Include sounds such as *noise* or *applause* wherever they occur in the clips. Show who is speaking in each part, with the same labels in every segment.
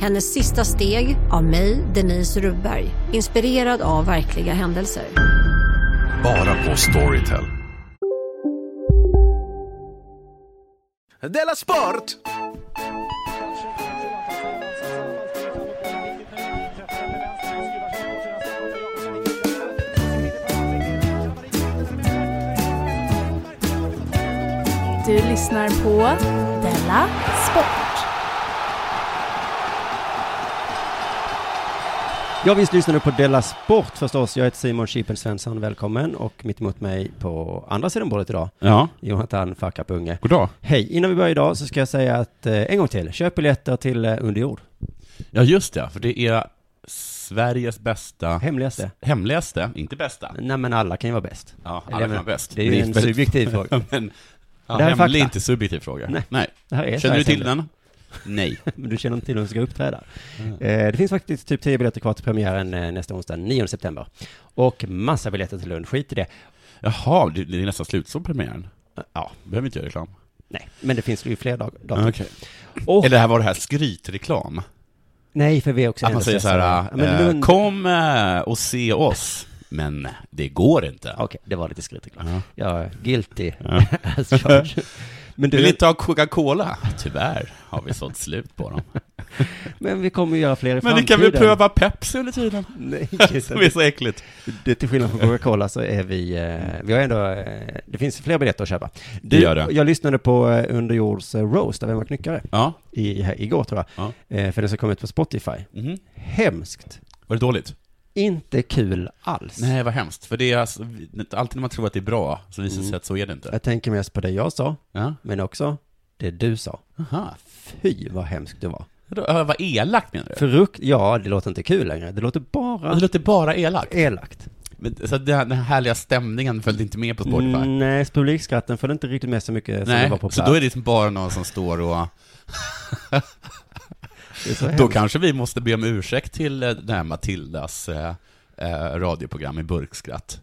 Speaker 1: Hennes sista steg av mig, Denise Rubberg. Inspirerad av verkliga händelser.
Speaker 2: Bara på Storytel.
Speaker 3: Della Sport!
Speaker 4: Du lyssnar på Della Sport.
Speaker 5: Ja, visst lyssnar du på Della Sport förstås. Jag heter Simon Chippen Svensson, välkommen. Och mitt emot mig på andra sidan bordet idag,
Speaker 6: Ja,
Speaker 5: Jonathan Fackapunge.
Speaker 6: god dag.
Speaker 5: Hej, innan vi börjar idag så ska jag säga att, eh, en gång till, köp biljetter till eh, Underjord.
Speaker 6: Ja, just det, för det är Sveriges bästa...
Speaker 5: Hemligaste.
Speaker 6: Hemligaste, inte bästa.
Speaker 5: Nej men alla kan ju vara bäst.
Speaker 6: Ja,
Speaker 5: Eller,
Speaker 6: alla kan
Speaker 5: men,
Speaker 6: vara bäst.
Speaker 5: Det är ju en
Speaker 6: väldigt-
Speaker 5: subjektiv fråga.
Speaker 6: Men, *laughs* ja,
Speaker 5: Det här är
Speaker 6: hemlig är
Speaker 5: fakta.
Speaker 6: inte subjektiv fråga.
Speaker 5: Nej.
Speaker 6: Nej.
Speaker 5: Det här är
Speaker 6: Känner du
Speaker 5: Sveriges
Speaker 6: till den? Nej.
Speaker 5: Men du känner inte till hur du ska uppträda. Eh, det finns faktiskt typ 10 biljetter kvar till premiären eh, nästa onsdag, 9 september. Och massa biljetter till Lund, skit i det.
Speaker 6: Jaha, det det är nästan slutsåld premiären.
Speaker 5: Ja,
Speaker 6: Behöver inte göra reklam.
Speaker 5: nej, men det finns ju fler dag- datum.
Speaker 6: Okej.
Speaker 5: Och-
Speaker 6: Eller det här var det här skrytreklam?
Speaker 5: Nej, för vi är också
Speaker 6: Att man säger så här,
Speaker 5: Ja, men
Speaker 6: eh,
Speaker 5: Lund...
Speaker 6: kom eh, och se oss, men det går inte.
Speaker 5: Okej, det var lite skrytigt.
Speaker 6: Ja.
Speaker 5: Ja, guilty *laughs* as charged. Men,
Speaker 6: Du vill
Speaker 5: du,
Speaker 6: inte ha Coca-Cola? Tyvärr har vi sålt slut på dem.
Speaker 5: men vi kommer ju göra fler i
Speaker 6: Men ni
Speaker 5: framtiden.
Speaker 6: kan väl pröva Pepsi under tiden?
Speaker 5: *laughs* Nej,
Speaker 6: *laughs* Som är så äckligt.
Speaker 5: det, till skillnad från Coca-Cola så är vi, eh, vi har ändå, eh, det finns fler biljetter att köpa. Du,
Speaker 6: gör det.
Speaker 5: Jag lyssnade på eh, Underjords eh, roast av Emma Knyckare
Speaker 6: Ja.
Speaker 5: i, här, igår tror jag, eh, för den som kom ut på Spotify.
Speaker 6: Mhm.
Speaker 5: Hemskt.
Speaker 6: Var det dåligt?
Speaker 5: Inte kul alls.
Speaker 6: Nej, vad hemskt. För det är alltså, alltid när man tror att det är bra, så visar det
Speaker 5: Mm.
Speaker 6: sig att så är det inte.
Speaker 5: Jag tänker mest på det jag sa,
Speaker 6: Ja.
Speaker 5: men också det du sa.
Speaker 6: Aha.
Speaker 5: Fy vad hemskt det var.
Speaker 6: Vadå, ö, Vad elakt menar du?
Speaker 5: Frukt, ja det låter inte kul längre, det låter bara
Speaker 6: Det låter bara elakt.
Speaker 5: elakt.
Speaker 6: Men- Så att den här- den här härliga stämningen följde inte med på Spotify.
Speaker 5: Mm, nej, publikskratten följde inte riktigt med så mycket som det var
Speaker 6: Nej,
Speaker 5: på
Speaker 6: så
Speaker 5: plats.
Speaker 6: då är det liksom bara någon som står och...
Speaker 5: Det är så
Speaker 6: Då
Speaker 5: hemskt.
Speaker 6: kanske vi måste be om ursäkt till eh, den här Matildas eh, eh, radioprogram i burkskratt.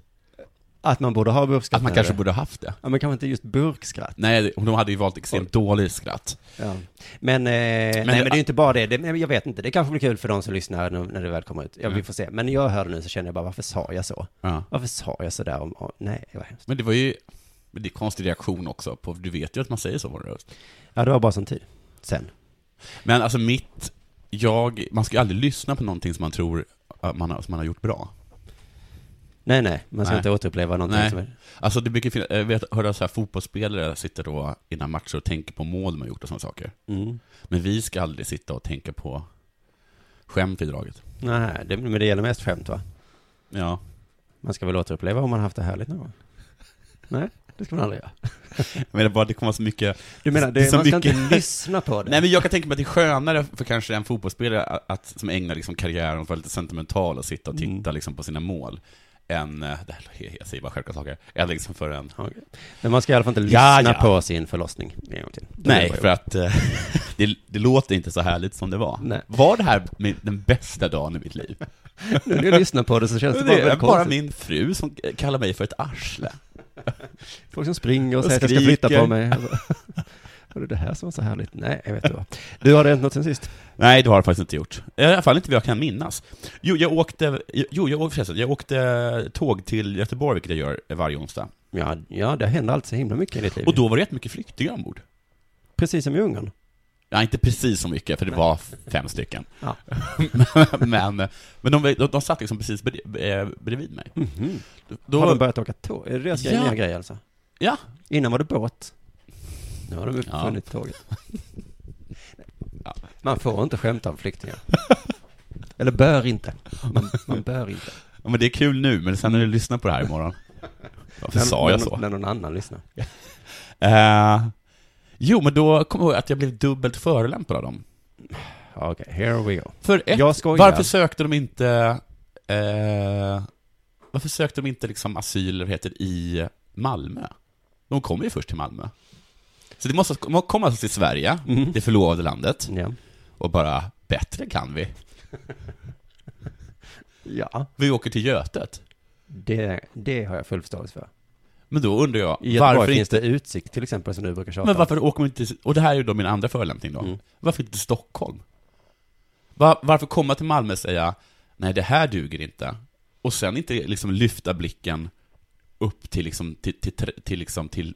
Speaker 5: Att man borde ha burkskratt.
Speaker 6: Att man
Speaker 5: menar
Speaker 6: kanske
Speaker 5: du?
Speaker 6: borde ha haft det.
Speaker 5: Ja, men kanske inte just burkskratt.
Speaker 6: Nej, de hade ju valt extremt dåligt skratt.
Speaker 5: Ja. Men, eh, nej, men det är ju inte bara det. det nej, jag vet inte, det kanske blir kul för de som lyssnar när, när det väl kommer ut. Ja,
Speaker 6: Mm.
Speaker 5: vi får se. Men när jag hör det nu så känner jag bara, varför sa jag så?
Speaker 6: Ja.
Speaker 5: Varför sa jag så där om, om nej, vad hemskt.
Speaker 6: Men det var ju... Men det är konstig reaktion också, på, du vet ju att man säger så på en röst.
Speaker 5: Ja, det var bara sån tid. Sen.
Speaker 6: Men alltså mitt, jag, man ska ju aldrig lyssna på någonting som man tror att man har, som man har gjort bra.
Speaker 5: Nej, nej, man ska
Speaker 6: Nej.
Speaker 5: inte återuppleva någonting
Speaker 6: Nej.
Speaker 5: som är...
Speaker 6: Alltså det brukar finnas, jag vet, hör så här fotbollsspelare sitter då innan matcher och tänker på mål de har gjort och sådana saker.
Speaker 5: Mm.
Speaker 6: Men vi ska aldrig sitta och tänka på skämt i draget.
Speaker 5: Nej, det, men det gäller mest skämt va?
Speaker 6: Ja.
Speaker 5: Man ska väl återuppleva om man haft det härligt någon
Speaker 6: *laughs*
Speaker 5: gång? Nej, det ska man aldrig göra.
Speaker 6: Jag menar bara, det kommer vara så mycket...
Speaker 5: Du menar,
Speaker 6: är
Speaker 5: det,
Speaker 6: så
Speaker 5: man ska
Speaker 6: mycket-
Speaker 5: inte lyssna på det?
Speaker 6: Nej men jag kan tänka mig att det är skönare för kanske en fotbollsspelare att, att, som ägnar liksom karriären åt att vara lite sentimental och sitta och
Speaker 5: Mm.
Speaker 6: titta liksom på sina mål. Än, eh, det här, jag säger bara självklart saker, än liksom för en
Speaker 5: Okej. Men man ska i alla fall inte lyssna
Speaker 6: Ja, ja.
Speaker 5: på sin förlossning en gång till. Det
Speaker 6: Nej,
Speaker 5: var ju-
Speaker 6: för att eh, *laughs* det, det låter inte så härligt som det var.
Speaker 5: Nej.
Speaker 6: Var det här min, den bästa dagen i mitt liv?
Speaker 5: Nu när jag lyssnar på det så känns det,
Speaker 6: Det är
Speaker 5: väldigt
Speaker 6: bara
Speaker 5: konstigt.
Speaker 6: min fru som kallar mig för ett arsle.
Speaker 5: Folk som springer och
Speaker 6: Och
Speaker 5: säger att jag ska
Speaker 6: skriker.
Speaker 5: flytta på mig. *laughs* Var det det här som var så härligt? Nej, jag vet inte vad. Du, har det hänt något sen sist?
Speaker 6: Nej, det har jag faktiskt inte gjort. I alla fall inte vad jag kan minnas. Jo, jag åkte, jo, jag, åkte- förresten, jag åkte tåg till Göteborg, vilket jag gör varje onsdag.
Speaker 5: Ja, ja det händer alltid så himla mycket i ditt liv.
Speaker 6: Och då var det jättemycket flyktingar ombord.
Speaker 5: Precis som i Ungern.
Speaker 6: Ja, inte precis så mycket, för det var fem stycken.
Speaker 5: Ja.
Speaker 6: *laughs* men men de, de, de satt liksom precis bred- eh, bredvid mig. Då,
Speaker 5: Har de Mhm. börjat åka tåg? Är det deras
Speaker 6: Ja.
Speaker 5: ja. grej alltså?
Speaker 6: Ja,
Speaker 5: Innan var det båt. Nu har de uppfunnit tåget.
Speaker 6: *laughs*
Speaker 5: Man får inte skämta om flyktingar. Eller bör inte. Man, man bör inte.
Speaker 6: Ja, men det är kul nu, men sen när du lyssnar på det här
Speaker 5: *laughs*
Speaker 6: imorgon. Varför
Speaker 5: När-
Speaker 6: sa jag
Speaker 5: när,
Speaker 6: så?
Speaker 5: När någon annan lyssnar.
Speaker 6: Eh, jo, men då kom jag ihåg att jag blev dubbelt förolämpad av dem.
Speaker 5: Ja, Okej, here we go.
Speaker 6: För ett,
Speaker 5: Jag skojar.
Speaker 6: varför sökte de inte... Eh, varför sökte de inte liksom asyl, eller vad heter det, i Malmö? De kom ju först till Malmö. Så de måste de kom alltså till Sverige,
Speaker 5: Mm.
Speaker 6: det förlovade landet,
Speaker 5: Ja.
Speaker 6: och bara ”bättre kan vi”.
Speaker 5: ja.
Speaker 6: Vi åker till Götet.
Speaker 5: Det, det har jag full förståelse för.
Speaker 6: Men då undrar jag,
Speaker 5: I Göteborg
Speaker 6: varför
Speaker 5: finns
Speaker 6: inte...
Speaker 5: det utsikt till exempel som du brukar tjata
Speaker 6: Men
Speaker 5: om.
Speaker 6: varför åker man inte, och det här är ju då min andra förolämpning då,
Speaker 5: Mm.
Speaker 6: varför inte till Stockholm? Va- varför komma till Malmö och säga, nej det här duger inte, och sen inte liksom lyfta blicken upp till liksom, till, till, till, till, liksom, till,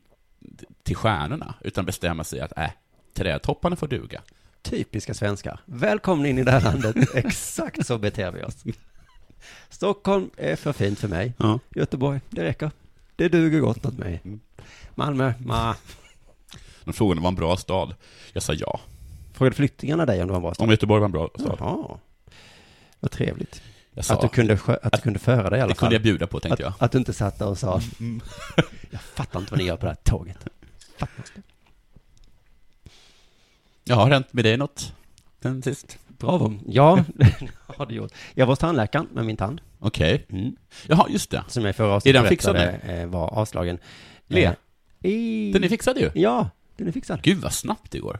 Speaker 6: till stjärnorna, utan bestämma sig att, äh, trädtopparna får duga.
Speaker 5: Typiska svenskar. Välkomna in i det här
Speaker 6: *laughs*
Speaker 5: landet. Exakt så beter vi oss. Stockholm är för fint för mig.
Speaker 6: Ja.
Speaker 5: Göteborg, det räcker. Det duger gott åt mig.
Speaker 6: Mm.
Speaker 5: Malmö, ma.
Speaker 6: De frågade om det var en bra stad. Jag sa ja.
Speaker 5: Frågade flyktingarna dig om det var en bra stad?
Speaker 6: Om Göteborg var en bra stad.
Speaker 5: Jaha. Vad trevligt.
Speaker 6: Jag sa,
Speaker 5: Att du, kunde, skö- att du kunde föra dig i alla
Speaker 6: det
Speaker 5: fall.
Speaker 6: kunde jag bjuda på, tänkte jag.
Speaker 5: att, att du inte satt där och sa
Speaker 6: Mm,
Speaker 5: *laughs* Jag fattar inte vad ni gör på det här tåget.
Speaker 6: Ja, har det hänt med dig något sen sist?
Speaker 5: Bravo.
Speaker 6: *laughs*
Speaker 5: Ja, *laughs* det har du gjort. Jag var hos tandläkaren med min tand.
Speaker 6: Okej.
Speaker 5: Mm.
Speaker 6: Jaha, just det.
Speaker 5: Som jag i förra avsnittet
Speaker 6: Är den fixad
Speaker 5: berättade, eh, var avslagen.
Speaker 6: Le.
Speaker 5: Eh, I...
Speaker 6: Den är fixad ju.
Speaker 5: Ja, den är fixad. *laughs*
Speaker 6: Gud vad snabbt det går.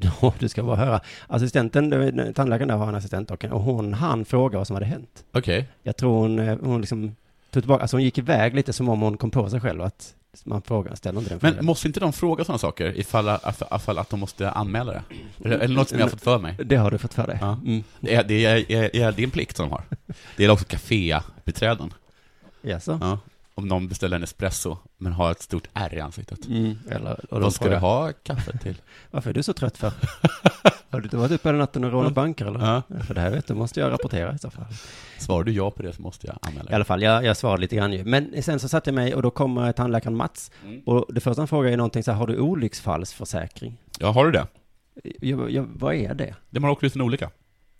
Speaker 5: Ja, du ska bara höra. Assistenten, eh, tandläkaren där var en assistent och och hon hann fråga vad som hade hänt.
Speaker 6: Okej.
Speaker 5: Jag tror hon, eh, hon liksom tog tillbaka, alltså hon gick iväg lite som om hon kom på sig själv att man frågar, ställer inte den frågan.
Speaker 6: Men måste inte de fråga sådana saker ifall, ifall, ifall att de måste anmäla det? Eller, eller något som jag har fått för mig?
Speaker 5: Det har du fått för dig.
Speaker 6: Ja.
Speaker 5: Mm.
Speaker 6: Det är, det är, det är, det är en plikt som de har. Det är också kafébiträden.
Speaker 5: Jaså?
Speaker 6: Ja. Om någon beställer en espresso men har ett stort ärr i ansiktet.
Speaker 5: Mm. Eller, och då
Speaker 6: Vad ska du
Speaker 5: frågar,
Speaker 6: ha kaffe till?
Speaker 5: Varför är du så trött
Speaker 6: *laughs*
Speaker 5: för? har du inte varit uppe hela natten och rånat banker eller?
Speaker 6: Ja.
Speaker 5: För det här vet du, måste jag rapportera i så fall.
Speaker 6: Svarar du ja på det så måste jag anmäla
Speaker 5: I
Speaker 6: det.
Speaker 5: alla fall, jag, jag svarade lite grann ju. Men sen så satte jag mig och då kommer tandläkaren Mats.
Speaker 6: Mm.
Speaker 5: Och det första han frågar är någonting så här, har du olycksfallsförsäkring?
Speaker 6: Ja, har du det?
Speaker 5: Jag, jag, vad är det?
Speaker 6: Det man åker ut en olycka.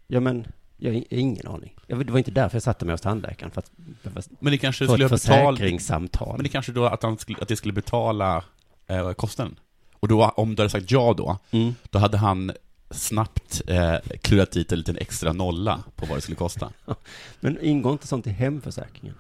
Speaker 5: Ja men, jag har ingen aning. Jag, vet- det var inte därför jag satte mig hos tandläkaren, för att behöva
Speaker 6: Men det kanske
Speaker 5: få
Speaker 6: skulle
Speaker 5: ett
Speaker 6: betala...
Speaker 5: försäkringssamtal.
Speaker 6: Men det kanske då att, han skulle, att det skulle betala eh, kostnaden. Och då, om du hade sagt ja då,
Speaker 5: Mm.
Speaker 6: då hade han snabbt eh, klurat dit en liten extra nolla på vad det skulle kosta.
Speaker 5: Men ingår inte sånt i hemförsäkringen?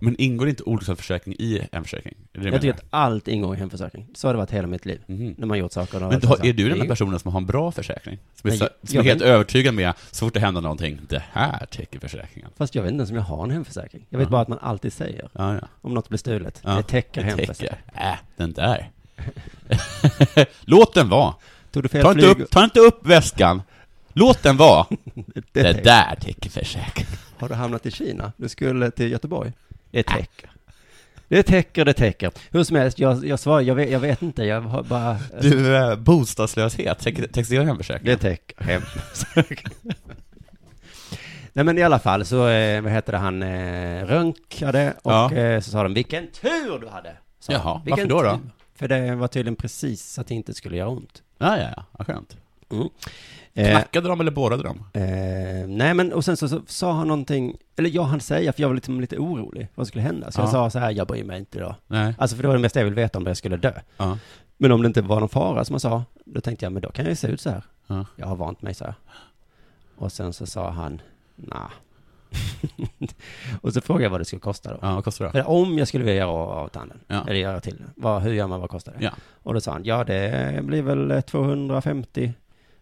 Speaker 6: Men ingår inte olycksfallsförsäkring i en försäkring? Är det det
Speaker 5: Jag
Speaker 6: du
Speaker 5: tycker att allt ingår i hemförsäkring. Så har det varit hela mitt liv.
Speaker 6: menar? Mhm.
Speaker 5: När man gjort saker. och-
Speaker 6: Men då, är du den här
Speaker 5: Det är-
Speaker 6: personen som har en bra försäkring? Som är,
Speaker 5: Nej,
Speaker 6: så,
Speaker 5: jag-
Speaker 6: som är
Speaker 5: jag
Speaker 6: helt
Speaker 5: vet-
Speaker 6: övertygad med, så fort det händer någonting, det här täcker försäkringen.
Speaker 5: Fast jag vet inte ens om jag har en hemförsäkring. Jag vet
Speaker 6: Ja.
Speaker 5: bara att man alltid säger,
Speaker 6: Ja, ja.
Speaker 5: om något blir stulet,
Speaker 6: Ja,
Speaker 5: det täcker
Speaker 6: det
Speaker 5: hemförsäkringen.
Speaker 6: täcker. Äh, den där. *laughs* Låt den vara.
Speaker 5: Tog du fel
Speaker 6: Ta inte,
Speaker 5: flyg,
Speaker 6: upp, ta inte upp väskan. Låt den vara.
Speaker 5: det
Speaker 6: Det
Speaker 5: täcker.
Speaker 6: där täcker försäkringen.
Speaker 5: Har du hamnat i Kina? Du skulle till Göteborg? Det
Speaker 6: Ah.
Speaker 5: täcker. Det täcker, det täcker. Hur som helst, jag, jag svarar, jag vet, jag vet inte, jag har bara...
Speaker 6: Du, eh, bostadslöshet, täcker täcks det av hemförsäkringen?
Speaker 5: Det täcker hemförsäkringen. Nej men i alla fall så, eh, vad heter det, han eh, röntgade och
Speaker 6: Ja.
Speaker 5: eh, så sa de vilken tur du hade! Sa de.
Speaker 6: Jaha,
Speaker 5: "Vilken
Speaker 6: varför då då?
Speaker 5: tur." För det var tydligen precis så att det inte skulle göra ont.
Speaker 6: Ja, ja, ja, ja, skönt.
Speaker 5: Eh,
Speaker 6: Knackade de eller borrade de?
Speaker 5: Eh, nej men, och sen så, så sa han någonting, eller jag han säga, för jag var lite, lite orolig, vad skulle hända? Så jag
Speaker 6: Ja.
Speaker 5: sa så här, jag bryr mig inte då.
Speaker 6: Nej.
Speaker 5: Alltså för det var det mesta jag ville veta om det jag skulle dö.
Speaker 6: Ja.
Speaker 5: Men om det inte var någon fara som han sa, då tänkte jag, men då kan jag ju se ut så här.
Speaker 6: Ja.
Speaker 5: Jag har vant mig så här. Och sen så sa han, nah. *laughs* och så frågade jag vad det skulle kosta då.
Speaker 6: Ja, vad kostar det?
Speaker 5: För om jag skulle vilja göra av tanden,
Speaker 6: Ja.
Speaker 5: eller göra till den, vad, hur gör man, vad kostar det?
Speaker 6: Ja.
Speaker 5: Och då sa han, ja det blir väl 250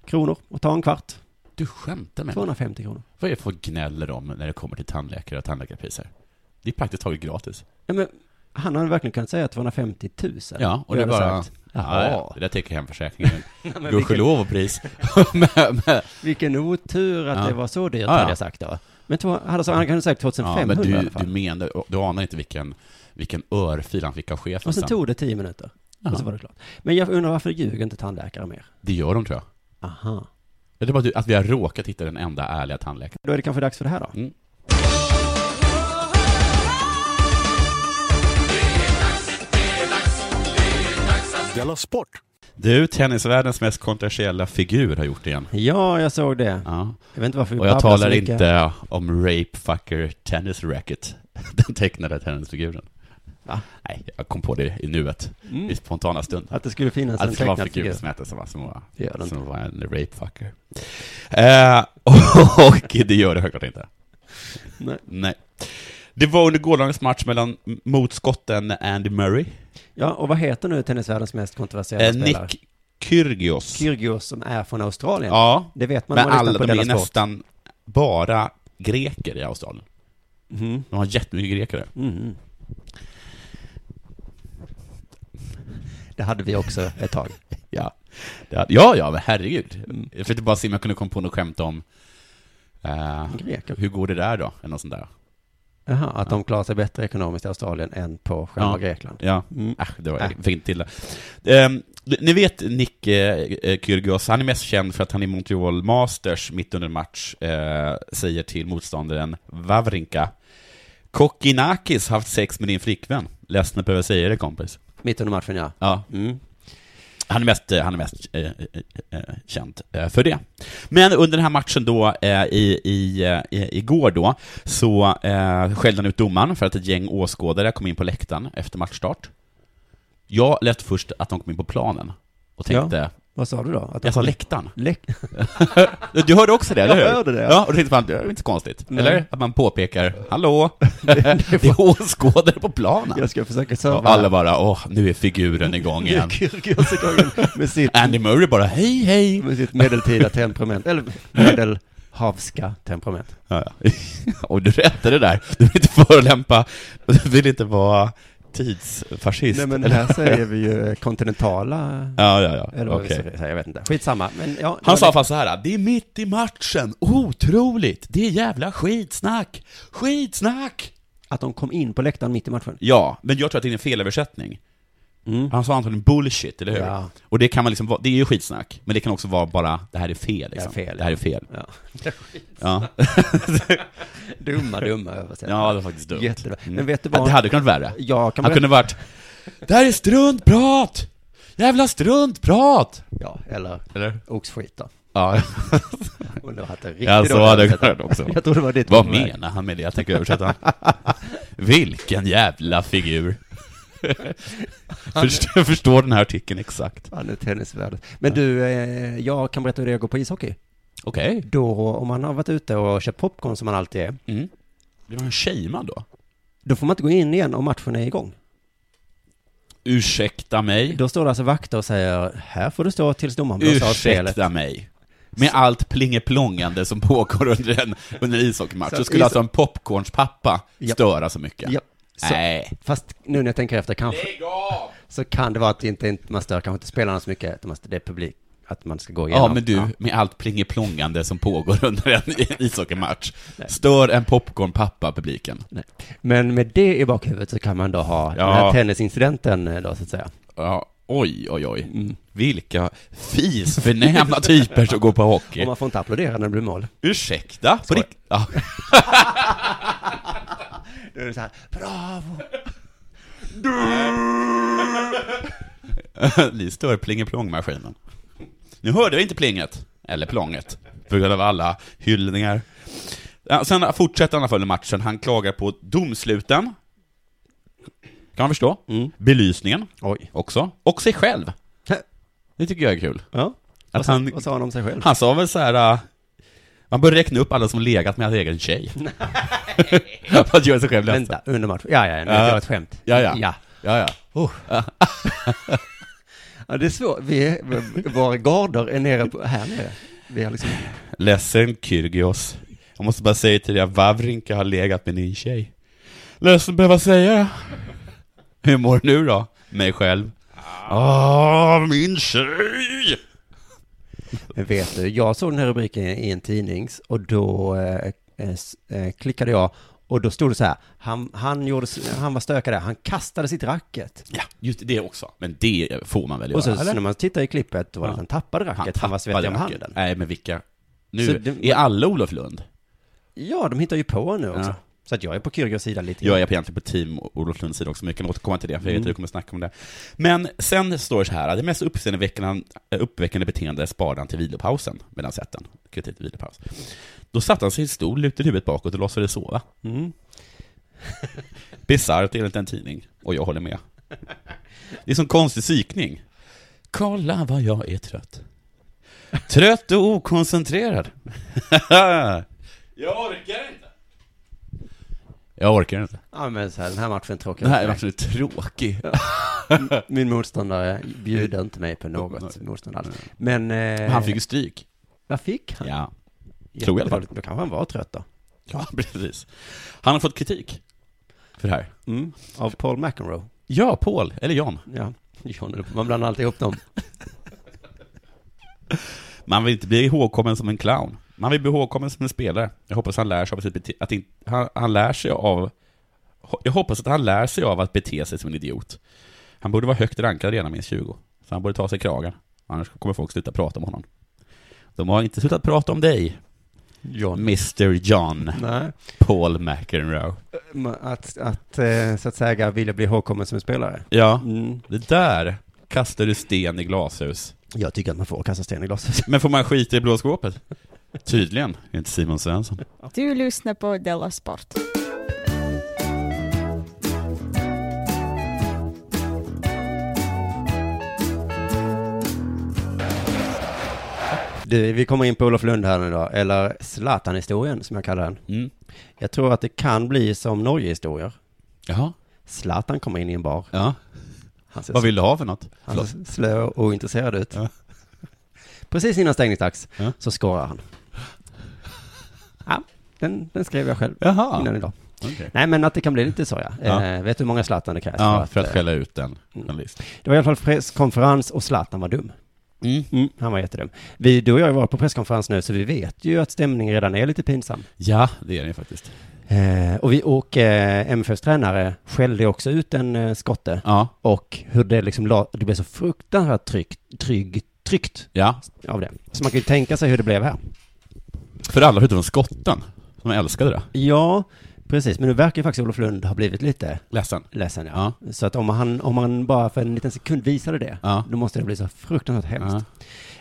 Speaker 5: kronor och ta en kvart.
Speaker 6: Du skämtar med mig.
Speaker 5: 250 kronor.
Speaker 6: Vad är det för gnäller om när det kommer till tandläkare och tandläkarpriser? Det är praktiskt taget gratis.
Speaker 5: Ja, men han hade verkligen kunnat säga 250 000.
Speaker 6: Ja, och det är
Speaker 5: jag hade
Speaker 6: bara...
Speaker 5: Sagt,
Speaker 6: Ja,
Speaker 5: Jaha,
Speaker 6: ja, det där täcker hemförsäkringen. *laughs*
Speaker 5: men
Speaker 6: Gudskelov och *laughs* pris. men, men,
Speaker 5: vilken otur att
Speaker 6: Ja.
Speaker 5: det var så dyrt,
Speaker 6: Ja, ja.
Speaker 5: hade jag sagt då. Men två, han, hade, sagt- han kunde ha sagt
Speaker 6: ja,
Speaker 5: 2500
Speaker 6: men
Speaker 5: i
Speaker 6: du,
Speaker 5: alla
Speaker 6: du
Speaker 5: fall.
Speaker 6: menar, du anar inte vilken, vilken örfil han fick av chefen
Speaker 5: och sen
Speaker 6: sen.
Speaker 5: tog det 10 minuter. Och så
Speaker 6: Ja.
Speaker 5: var det klart. Men jag undrar varför ljuger inte tandläkare mer?
Speaker 6: Det gör de tror jag.
Speaker 5: Aha.
Speaker 6: Jag tror bara att du- att vi har råkat hitta den enda ärliga tandläkaren.
Speaker 5: Då är det kanske dags för det här då.
Speaker 6: Mm.
Speaker 3: Det är dags, det är dags, Della Sport!
Speaker 6: Du, tennisvärldens mest kontroversiella figur har gjort det igen.
Speaker 5: Ja, jag såg det.
Speaker 6: Ja.
Speaker 5: Jag vet inte varför vi
Speaker 6: Och jag
Speaker 5: babblar så
Speaker 6: talar
Speaker 5: mycket.
Speaker 6: inte om Rape Fucker Tennis Racket, *laughs* den tecknade tennisfiguren.
Speaker 5: Va?
Speaker 6: Nej, jag kom på det i nuet, i spontana stund.
Speaker 5: Att det skulle finnas
Speaker 6: Att det
Speaker 5: en
Speaker 6: skulle vara en
Speaker 5: tecknad
Speaker 6: figur
Speaker 5: figur.
Speaker 6: som hette som, som, var,
Speaker 5: Det gör det
Speaker 6: som var en rape fucker. Eh, *laughs* och det gör det självklart inte.
Speaker 5: Nej.
Speaker 6: Det var under gårdagens match mellan mot skotten Andy Murray,
Speaker 5: Ja, och vad heter nu tennisvärldens mest kontroversiella
Speaker 6: eh,
Speaker 5: spelare?
Speaker 6: Nick Kyrgios.
Speaker 5: Kyrgios som är från Australien.
Speaker 6: Ja,
Speaker 5: Det vet man
Speaker 6: men
Speaker 5: om man lyssnar
Speaker 6: alla,
Speaker 5: på
Speaker 6: de är
Speaker 5: Della Sport.
Speaker 6: nästan bara greker i Australien.
Speaker 5: Mhm.
Speaker 6: De har jättemycket greker där.
Speaker 5: Mhm. Det hade vi också ett tag.
Speaker 6: *laughs*
Speaker 5: Mm.
Speaker 6: Ja, det hade, ja, ja, men herregud. Jag försökte bara se om jag kunde komma på något skämt om eh,
Speaker 5: Greker.
Speaker 6: hur går det där då, eller något sånt där.
Speaker 5: Jaha, att de klarar sig bättre ekonomiskt i Australien än på själva
Speaker 6: Ja.
Speaker 5: Grekland.
Speaker 6: Ja,
Speaker 5: Mm.
Speaker 6: äh, det var,
Speaker 5: Äh.
Speaker 6: jag fick inte till det. Ehm, ni vet Nick eh, eh, Kyrgios, han är mest känd för att han i Montreal Masters mitt under en match eh, säger till motståndaren Wawrinka Kokkinakis haft sex med din flickvän. Ledsen att behöva säga det kompis.
Speaker 5: Mitt under matchen, ja.
Speaker 6: Ja,
Speaker 5: Mm.
Speaker 6: Han är mest, eh, han är mest eh, eh, eh, känd eh, för det. Men under den här matchen då, eh, i, i, eh, i- igår då, så eh, skällde han ut domaren för att ett gäng åskådare kom in på läktaren efter matchstart. Jag lät först att de kom in på planen och tänkte,
Speaker 5: Vad sa du då? Att de-
Speaker 6: jag sa läktaren.
Speaker 5: Läck...
Speaker 6: *laughs* Du hörde också det, eller hur?
Speaker 5: hörde det, ja.
Speaker 6: Ja, och då tänkte man, det är inte så konstigt.
Speaker 5: Nej.
Speaker 6: Eller? Att man påpekar, *laughs* hallå, det är åskådare på planen.
Speaker 5: Jag ska försöka
Speaker 6: Och
Speaker 5: serva.
Speaker 6: alla bara, åh, nu är figuren *laughs* igång igen.
Speaker 5: Kyrgios igång med sitt,
Speaker 6: *laughs* Andy Murray bara, hej, hej.
Speaker 5: med sitt medeltida temperament. Eller medelhavska temperament.
Speaker 6: Ja, ja. *laughs* Och du rättade det där. Du vill inte förolämpa, du vill inte vara tidsfascist.
Speaker 5: Nej, men
Speaker 6: eller?
Speaker 5: här säger vi ju eh, kontinentala...
Speaker 6: Ja, ja, ja.
Speaker 5: Eller vad vi
Speaker 6: Okej.
Speaker 5: ska säga, jag vet inte. Skitsamma. Men ja, det
Speaker 6: Han
Speaker 5: var
Speaker 6: sa
Speaker 5: det.
Speaker 6: fast så här, det är mitt i matchen, otroligt, det är jävla skitsnack, skitsnack!
Speaker 5: att de kom in på läktaren mitt i matchen.
Speaker 6: Ja, men jag tror att det är en felöversättning.
Speaker 5: Mm.
Speaker 6: Han sa antagligen bullshit, eller hur?
Speaker 5: Ja.
Speaker 6: Och det kan man liksom, vara- det är ju skitsnack, men det kan också vara bara, det här är fel liksom.
Speaker 5: Det är fel.
Speaker 6: Det här är fel. *laughs*
Speaker 5: Ja. *laughs*
Speaker 6: Ja,
Speaker 5: Dumma, dumma översättningar.
Speaker 6: ja det var faktiskt dumt.
Speaker 5: Jättebra.
Speaker 6: Mm.
Speaker 5: Men vet du
Speaker 6: Ja,
Speaker 5: vad?
Speaker 6: Det hade kunnat vara värre.
Speaker 5: Jag kan
Speaker 6: Han kunde varit Det här är struntprat! Jävla struntprat!
Speaker 5: Ja, eller
Speaker 6: Eller?
Speaker 5: oxskit då.
Speaker 6: Ja,
Speaker 5: Undrar att det är riktigt
Speaker 6: ja så
Speaker 5: dåligt
Speaker 6: hade jag
Speaker 5: översatt.
Speaker 6: kunnat också.
Speaker 5: *laughs* Jag tror det var ditt
Speaker 6: Vad
Speaker 5: ordval.
Speaker 6: menar han med det? Jag tänker översätta. Vilken jävla *laughs* figur. Förstår, jag förstår den här artikeln exakt.
Speaker 5: Han är tennisvärd. Men du, eh, jag kan berätta hur det går på ishockey.
Speaker 6: Okej.
Speaker 5: Då, om man har varit ute och köpt popcorn som man alltid är,
Speaker 6: Mm. Blir man shamead då?
Speaker 5: då får man inte gå in igen om matchen är igång.
Speaker 6: Ursäkta mig.
Speaker 5: Då står det alltså vakter och säger, här får du stå tills domaren blåser av spelet.
Speaker 6: Ursäkta mig. Med allt plingeplongande som pågår under en, under en ishockeymatch,
Speaker 5: Så
Speaker 6: så
Speaker 5: att
Speaker 6: skulle
Speaker 5: is-
Speaker 6: alltså en popcornspappa
Speaker 5: Japp.
Speaker 6: störa så mycket?
Speaker 5: Ja, så-
Speaker 6: Nej.
Speaker 5: Fast nu när jag tänker efter kanske... Så kan det vara att det inte, inte, man stör kanske inte spelarna så mycket, att man- det är publik, att man ska gå igenom.
Speaker 6: Ja, men du, med allt plingeplongande som pågår *laughs* under en ishockeymatch, stör en popcornpappa publiken?
Speaker 5: Men med det i bakhuvudet så kan man då ha den här
Speaker 6: Ja.
Speaker 5: tennisincidenten eh, då så att säga.
Speaker 6: Ja, oj, oj, oj. Vilka fisförnäma typer som går på hockey.
Speaker 5: Och man får inte applådera när det blir mål.
Speaker 6: Ursäkta? På rikt- ja.
Speaker 5: *laughs* Då är det så här, bravo!
Speaker 6: Ni stör plingeplongmaskinen. Nu hörde jag inte plinget, eller plånget, på grund av alla hyllningar. Ja, sen fortsätter han följa matchen, han klagar på domsluten. Kan man förstå.
Speaker 5: Mm.
Speaker 6: Belysningen
Speaker 5: Oj.
Speaker 6: också, och sig själv.
Speaker 5: Hä?
Speaker 6: Det tycker jag är kul.
Speaker 5: Ja,
Speaker 6: Att han,
Speaker 5: vad sa han om sig själv?
Speaker 6: han sa väl så här. äh, man bör räkna upp alla som legat med hans
Speaker 5: *laughs*
Speaker 6: egen tjej. För att göra sig själv ledsen.
Speaker 5: Vänta, under matchen. Ja, ja, nu uh, det var ett skämt.
Speaker 6: Ja, ja.
Speaker 5: Ja,
Speaker 6: Ja, ja.
Speaker 5: Oh. ja det är svårt. Vi är, våra garder är nere på, här nere. Vi har liksom,
Speaker 6: Ledsen Kyrgios. Jag måste bara säga till dig att Wawrinka har legat med din tjej. Ledsen att behöva säga det. Hur mår du nu då? Mig själv. Ah, min tjej!
Speaker 5: men vet du, jag såg den här rubriken i en tidnings och då eh, eh, s- eh, klickade jag och då stod det så här, han, han, gjorde, s- han var stökad där, han kastade sitt racket.
Speaker 6: Ja, just det också. Men det får man väl göra?
Speaker 5: Och så, så
Speaker 6: eller?
Speaker 5: när man tittar i klippet, då var det att han tappade racket, han, var svettig om
Speaker 6: tappade
Speaker 5: handen.
Speaker 6: racket. Nej, men vilka? Nu
Speaker 5: Så det-
Speaker 6: är alla Olof Lund.
Speaker 5: Ja, de hittar ju på nu också.
Speaker 6: Ja.
Speaker 5: Så att jag är på Kyrgios sida lite
Speaker 6: Jag är egentligen på team Olof Lunds sida också, men jag kan återkomma till det, för jag vet att du kommer snacka om det. Men sen står det så här, det mest uppseendeväckande, uppväckande beteende sparade han till vilopausen, medan satt den. Kritik till vilopaus. Då satte han sig i en stol, lutade huvudet bakåt och låtsades sova.
Speaker 5: Mm.
Speaker 6: *laughs* Bisarrt enligt en tidning, och jag håller med. Det är som konstig psykning. Kolla vad jag är trött. Trött och okoncentrerad. *laughs* jag orkar inte. Jag orkar inte.
Speaker 5: Ja men så här, den här matchen är tråkig.
Speaker 6: Den här är absolut tråkig.
Speaker 5: Min motståndare bjuder inte mig på något
Speaker 6: Nej.
Speaker 5: motstånd alls. Men... Eh,
Speaker 6: Men han fick ju stryk.
Speaker 5: Vad fick han?
Speaker 6: Ja. *laughs* tror jag i alla fall.
Speaker 5: Då kanske han var trött då.
Speaker 6: ja, precis. Han har fått kritik. För det här.
Speaker 5: Mm. Av Paul McEnroe.
Speaker 6: Ja, Paul, eller John.
Speaker 5: Ja. John, man blandar alltid ihop dem.
Speaker 6: Man vill inte bli ihågkommen som en clown. Man vill bli ihågkommen som en spelare. Jag hoppas han lär sig av sitt bete- att in- han, han lär sig av... ho- Jag hoppas att han lär sig av att bete sig som en idiot. Han borde vara högt rankad redan minst 20. Så han borde ta sig kragen. Annars kommer folk sluta prata om honom. De har inte slutat prata om dig,
Speaker 5: John.
Speaker 6: Mr John
Speaker 5: Nej.
Speaker 6: Paul McEnroe.
Speaker 5: Men Att, att eh, så att säga vilja bli ihågkommen som en spelare.
Speaker 6: Ja,
Speaker 5: Mm.
Speaker 6: det där kastar du sten i glashus.
Speaker 5: Jag tycker att man får kasta sten i glaset.
Speaker 6: *laughs* Men får man skita i blå skåpet? Tydligen, enligt Simon Svensson.
Speaker 3: Du lyssnar på Della Sport.
Speaker 5: Du, vi kommer in på Olof Lund här nu då, eller Zlatan-historien som jag kallar den.
Speaker 6: Mm.
Speaker 5: Jag tror att det kan bli som Norge-historier.
Speaker 6: Jaha.
Speaker 5: Zlatan kommer in i en bar.
Speaker 6: Ja.
Speaker 5: Han ser,
Speaker 6: Vad vill du ha för något?
Speaker 5: han
Speaker 6: Förlåt.
Speaker 5: ser slö och ointresserad ut.
Speaker 6: Ja.
Speaker 5: Precis innan stängningsdags
Speaker 6: Ja.
Speaker 5: så scorar han. Ja, den, den skrev jag själv
Speaker 6: Jaha.
Speaker 5: innan idag.
Speaker 6: Okej.
Speaker 5: Nej, men att det kan bli lite så ja.
Speaker 6: Ja.
Speaker 5: Eh, vet du hur många Zlatan det krävs?
Speaker 6: Ja, för att
Speaker 5: eh,
Speaker 6: skälla ut en journalist.
Speaker 5: det var i alla fall presskonferens och Zlatan var dum.
Speaker 6: Mm.
Speaker 5: Han var jättedum. Vi, du och jag har varit på presskonferens nu så vi vet ju att stämningen redan är lite pinsam.
Speaker 6: Ja, det är det ju faktiskt.
Speaker 5: Eh, och vi och eh, MFFs tränare skällde också ut en eh, skotte.
Speaker 6: Ja,
Speaker 5: Och hur det liksom la, det blev så fruktansvärt tryck, trygg, tryckt
Speaker 6: ja.
Speaker 5: av det. Så man kan ju tänka sig hur det blev här.
Speaker 6: För alla förutom skotten, som älskade det.
Speaker 5: Ja, precis. Men nu verkar ju faktiskt Olof Lund ha blivit lite
Speaker 6: Ledsen.
Speaker 5: ledsen. Ja. Så att om han, om han bara för en liten sekund visade det,
Speaker 6: Ja.
Speaker 5: då måste det bli så fruktansvärt hemskt.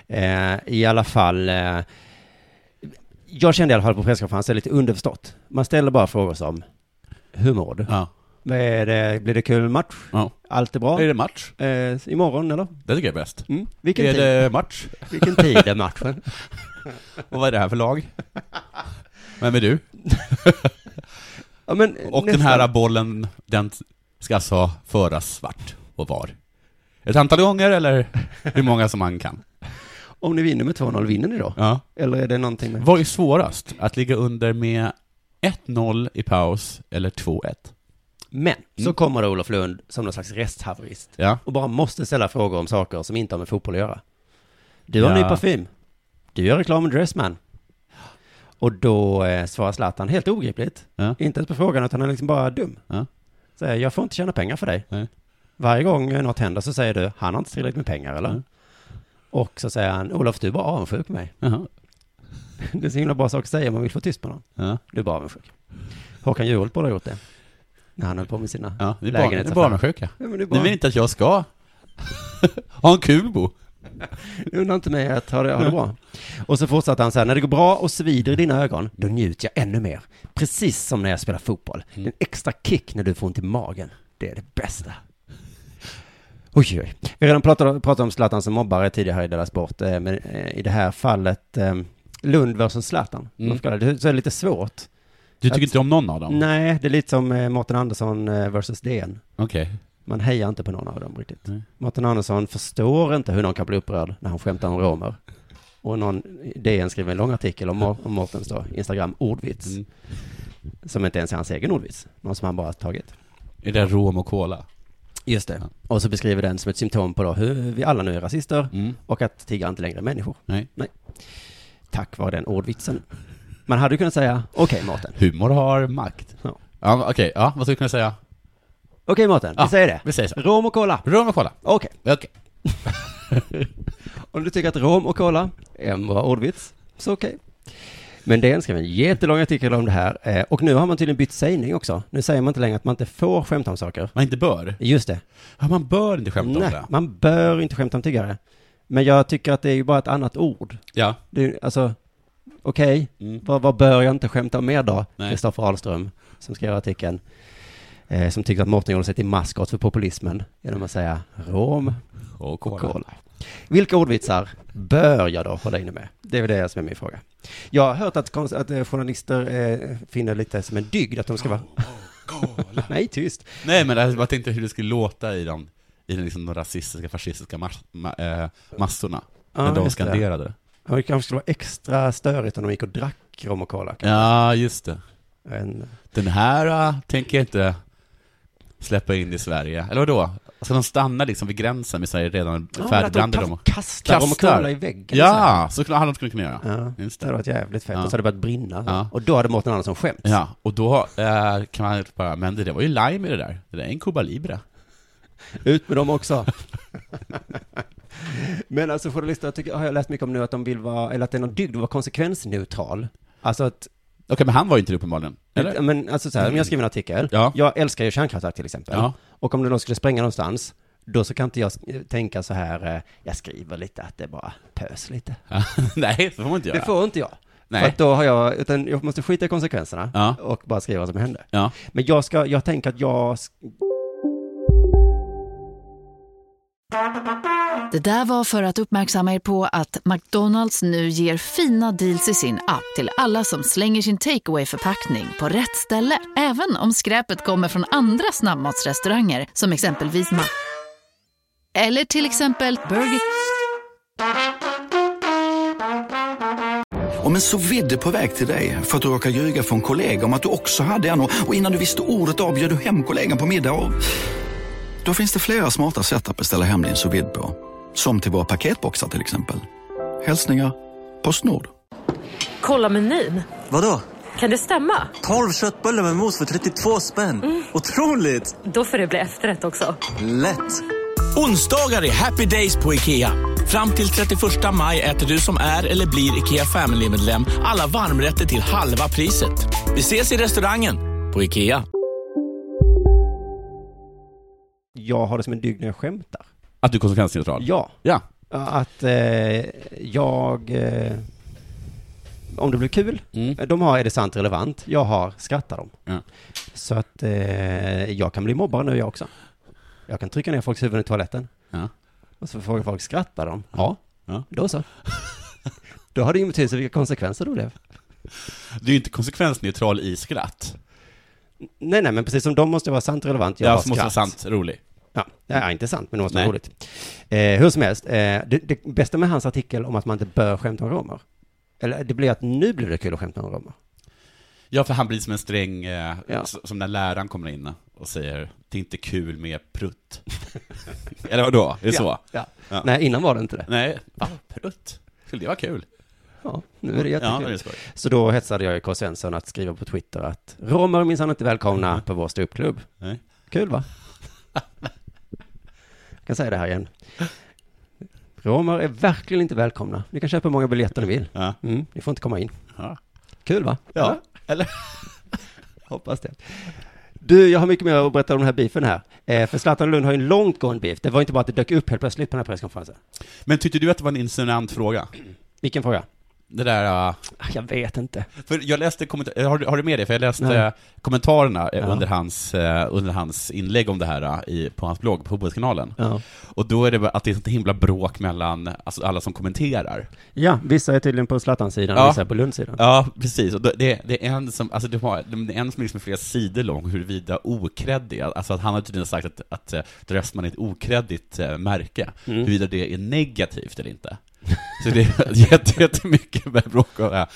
Speaker 5: Eh, I alla fall, eh, jag kände i alla fall på presskonferensen lite underförstått. Man ställer bara frågor som, hur mår du?
Speaker 6: Ja.
Speaker 5: Vad är det, blir det kul match?
Speaker 6: ja.
Speaker 5: Allt är bra.
Speaker 6: Är det match?
Speaker 5: Eh, imorgon eller?
Speaker 6: Det tycker jag är bäst.
Speaker 5: Mm. Vilken,
Speaker 6: Är
Speaker 5: tid?
Speaker 6: det match?
Speaker 5: Vilken tid är matchen?
Speaker 6: *laughs* Och vad är det här för lag? Vem är du?
Speaker 5: Ja, men,
Speaker 6: Och den
Speaker 5: nästan.
Speaker 6: här bollen, den ska alltså föras svart och var? Ett antal gånger eller hur många som man kan?
Speaker 5: Om ni vinner med 2-0, vinner ni då?
Speaker 6: Ja.
Speaker 5: Eller är det någonting med...
Speaker 6: Vad är svårast? Att ligga under med 1-0 i paus eller 2-1?
Speaker 5: Men, så
Speaker 6: Mm.
Speaker 5: kommer det Olof Lund som någon slags resthaverist
Speaker 6: Ja.
Speaker 5: och bara måste ställa frågor om saker som inte har med fotboll att göra. Du har
Speaker 6: Ja.
Speaker 5: ny parfym. Du gör reklam med Dressman. Och då eh, svarar Zlatan helt obegripligt.
Speaker 6: Ja.
Speaker 5: Inte ens på frågan, utan han är liksom bara dum.
Speaker 6: Ja.
Speaker 5: Säger, jag får inte tjäna pengar för dig.
Speaker 6: Nej.
Speaker 5: Varje gång eh, något händer så säger du, han har inte tillräckligt med pengar eller?
Speaker 6: Nej.
Speaker 5: Och så säger han, Olof du är bara avundsjuk på mig. *laughs*
Speaker 6: Jaha.
Speaker 5: Det är så himla bra sak att säga om man vill få tyst på någon.
Speaker 6: Ja.
Speaker 5: Du är bara avundsjuk. Håkan Juholt borde ha gjort det. När han höll på med sina
Speaker 6: Ja, det är barn- det är
Speaker 5: lägenhetsaffärer.
Speaker 6: barnsjuka.
Speaker 5: Ja, men det är
Speaker 6: Ni
Speaker 5: barn.
Speaker 6: vill inte att jag ska *laughs* ha en kul bo?
Speaker 5: Undra inte mig att ha det, ha det bra. Och så fortsatte han så här, när det går bra och svider i dina ögon, då njuter jag ännu mer. Precis som när jag spelar fotboll. Det är en extra kick när du får ont i magen. Det är det bästa. Oj, oj. Vi har redan pratat, pratat om Zlatan som mobbare tidigare här i Della Sport, eh, men eh, i det här fallet eh, Lund versus Zlatan.
Speaker 6: Mm.
Speaker 5: Så är det lite svårt.
Speaker 6: Du tycker inte om någon av dem?
Speaker 5: Nej, det är lite som eh, Mårten Andersson eh, versus DN.
Speaker 6: Okej.
Speaker 5: Man hejar inte på någon av dem riktigt.
Speaker 6: Nej.
Speaker 5: Mårten Andersson förstår inte hur någon kan bli upprörd när han skämtar om romer. Och någon DN skriver en lång artikel om, Mår- om Mårtens då, Instagram ordvits.
Speaker 6: Mm.
Speaker 5: Som inte ens är hans egen ordvits. Någon som han bara har tagit.
Speaker 6: Är det rom och cola?
Speaker 5: Just det. Och så beskriver den som ett symptom på då hur vi alla nu är rasister
Speaker 6: Mm.
Speaker 5: och att tiggare inte längre är människor.
Speaker 6: Nej.
Speaker 5: Tack vare den ordvitsen. Man hade ju kunnat säga, okej Mårten.
Speaker 6: Humor har makt.
Speaker 5: Ja.
Speaker 6: Ja. Okej, ja, vad ska vi kunna säga?
Speaker 5: Okej Mårten, vi
Speaker 6: Ja,
Speaker 5: säger det.
Speaker 6: Vi säger så.
Speaker 5: Rom och cola.
Speaker 6: Rom och cola.
Speaker 5: Okej.
Speaker 6: Okej.
Speaker 5: Om du tycker att rom och cola är en bra ordvits, så okej. Men den skrev en jättelång artikel om det här. Eh, Och nu har man tydligen bytt sägning också. Nu säger man inte längre att man inte får skämta om saker.
Speaker 6: Man inte bör.
Speaker 5: Just det.
Speaker 6: Ja, man bör inte skämta om
Speaker 5: Nej,
Speaker 6: det.
Speaker 5: man bör inte skämta om tiggare. Men jag tycker att det är ju bara ett annat ord.
Speaker 6: Ja.
Speaker 5: Det är, alltså, okej,
Speaker 6: Mm.
Speaker 5: vad, vad bör jag inte skämta om mer då?
Speaker 6: Nej.
Speaker 5: Kristoffer Ahlström, som skrev artikeln. Eh, som tyckte att Mårten gjorde sig till maskot för populismen genom att säga rom
Speaker 6: Och
Speaker 5: och
Speaker 6: kolla.
Speaker 5: cola. Vilka ordvitsar bör jag då hålla inne med? Det är väl det som är min fråga. Jag har hört att, konst, att eh, journalister eh, finner lite som en dygd att de ska vara... *laughs* Nej, tyst.
Speaker 6: Nej, men jag bara tänkte hur det skulle låta i de, i den liksom, de rasistiska, fascistiska mas, ma, eh, massorna.
Speaker 5: Ja,
Speaker 6: när de
Speaker 5: just det.
Speaker 6: skanderade.
Speaker 5: Ja, Det kanske skulle vara extra störigt om de gick och drack rom och cola.
Speaker 6: Ja, just det.
Speaker 5: En,
Speaker 6: Den här ah, tänker jag inte släppa in i Sverige. Eller vadå? Ska de stanna liksom vid gränsen med Sverige redan färdigbrandade dem?
Speaker 5: kastar, kastar rom och
Speaker 6: Kastar.
Speaker 5: cola i väggen. så här.
Speaker 6: Ja, så kunde- hade de skulle kunna göra.
Speaker 5: ja.
Speaker 6: Just
Speaker 5: Det hade
Speaker 6: det.
Speaker 5: varit jävligt fett.
Speaker 6: Ja.
Speaker 5: Och så hade det börjat brinna.
Speaker 6: Ja.
Speaker 5: Och då hade Mårten Andersson skämts.
Speaker 6: Ja, och då eh, kan man bara, men det där var ju lime i det där. Det där är en Cuba Libre.
Speaker 5: Ut med dem också. *laughs* Men alltså journalister jag tycker, har jag läst mycket om nu att de vill vara, eller att det är någon dygd att vara konsekvensneutral. Alltså att,
Speaker 6: Okej, men han var ju inte det uppenbarligen. Eller?
Speaker 5: men alltså så här, om jag skriver en artikel,
Speaker 6: Ja.
Speaker 5: jag älskar ju kärnkraftverk till exempel,
Speaker 6: Ja.
Speaker 5: och om det då skulle spränga någonstans, då så kan inte jag eh, tänka så här, eh, jag skriver lite att det är bara pös lite.
Speaker 6: *laughs* Nej, så får man inte göra.
Speaker 5: Det får inte jag. För
Speaker 6: Nej.
Speaker 5: att då har jag, utan jag måste skita i konsekvenserna
Speaker 6: Ja.
Speaker 5: och bara skriva vad som hände.
Speaker 6: Ja.
Speaker 5: Men jag ska, jag tänker att jag,
Speaker 7: Det där var för att uppmärksamma er på att McDonalds nu ger fina deals i sin app till alla som slänger sin takeaway förpackning på rätt ställe. Även om skräpet kommer från andra snabbmatsrestauranger som exempelvis Ma... Eller till exempel Burger...
Speaker 8: Om en så vidde på väg till dig för att du råkar ljuga från kollega om att du också hade en och och innan du visste ordet av bjöd du hem kollegan på middag och... Då finns det flera smarta sätt att beställa hem din sous vide på. Som till våra paketboxar till exempel. Hälsningar Postnord.
Speaker 9: Kolla menyn.
Speaker 8: Vadå?
Speaker 9: Kan det stämma? Mm.
Speaker 8: 12 köttbullar med mos för 32 spänn. Otroligt!
Speaker 9: Då får det bli efterrätt också.
Speaker 8: Lätt!
Speaker 10: Onsdagar är happy days på IKEA. Fram till 31 maj äter du som är eller blir IKEA Family-medlem alla varmrätter till halva priset. Vi ses i restaurangen på IKEA.
Speaker 5: jag har det som en dygd när jag skämtar.
Speaker 6: Att du är konsekvensneutral?
Speaker 5: Ja.
Speaker 6: Ja.
Speaker 5: Att eh, jag... Eh, om det blir kul, eh,
Speaker 6: Mm.
Speaker 5: de har är det sant relevant, jag har skrattar dem.
Speaker 6: Ja.
Speaker 5: Så att eh, jag kan bli mobbare nu jag också. Jag kan trycka ner folks huvuden i toaletten.
Speaker 6: Ja.
Speaker 5: Och så frågar folk, skrattar de?
Speaker 6: Ja.
Speaker 5: Då
Speaker 6: *laughs*
Speaker 5: så. Då har det ingen betydelse vilka konsekvenser det blev.
Speaker 6: Du är ju inte konsekvensneutral i skratt.
Speaker 5: Nej, nej, men precis som de måste vara sant relevant, jag
Speaker 6: Jag
Speaker 5: har
Speaker 6: måste vara
Speaker 5: skratt.
Speaker 6: sant rolig.
Speaker 5: Ja, ja, inte sant, men det måste vara
Speaker 6: Nej.
Speaker 5: roligt. Eh, hur som helst, eh, det, det bästa med hans artikel om att man inte bör skämta om romer, eller det blir att nu blir det kul att skämta om romer.
Speaker 6: Ja, för han blir som en sträng, eh,
Speaker 5: Ja.
Speaker 6: s- som när läraren kommer in och säger det är inte kul med prutt. *laughs* Eller vadå? Är det så?
Speaker 5: Ja.
Speaker 6: Ja.
Speaker 5: Nej, innan var det inte det.
Speaker 6: Nej, va? Prutt? Skulle det vara kul?
Speaker 5: Ja, nu är det
Speaker 6: Ja,
Speaker 5: jättekul.
Speaker 6: det är skoj.
Speaker 5: Så då hetsade jag ju K. Svensson att skriva på Twitter att romer är minsann inte välkomna
Speaker 6: Mm.
Speaker 5: på vår ståuppklubb.
Speaker 6: Nej.
Speaker 5: Kul va? Jag kan säga det här igen. Romer är verkligen inte välkomna. Ni kan köpa hur många biljetter ni vill.
Speaker 6: Ja.
Speaker 5: Mm, ni får inte komma in.
Speaker 6: Ja.
Speaker 5: Kul va?
Speaker 6: ja. Eller?
Speaker 5: Hoppas det. Du, jag har mycket mer att berätta om den här beefen här. Eh, för Zlatan Lund har ju en långtgående beef. Det var inte bara att det dök upp helt plötsligt på den här presskonferensen.
Speaker 6: Men tyckte du att det var en insinuant fråga?
Speaker 5: Vilken fråga?
Speaker 6: Det där, eh,
Speaker 5: Ah, Jag vet inte.
Speaker 6: för jag läste kommentarer, har, du- har du med det? För jag läste
Speaker 5: Nej.
Speaker 6: eh, kommentarerna eh,
Speaker 5: Ja.
Speaker 6: under, hans, eh, under hans inlägg om det här eh, i, på hans blogg, på Fotbollskanalen.
Speaker 5: Ja.
Speaker 6: Och då är det bara att det är sånt himla bråk mellan alltså, alla som kommenterar.
Speaker 5: ja, vissa är tydligen på Zlatan-sidan och
Speaker 6: Ja.
Speaker 5: vissa är på Lund-sidan.
Speaker 6: Ja, precis. Och då- det, det är en som, alltså det var, det är en som liksom är flera sidor lång, huruvida okreddig, alltså att han har tydligen sagt att, att eh, Dressman är ett okreddigt eh, märke, huruvida det är negativt eller inte. Så det är *laughs* jätte- jättemycket med bråk om det. här.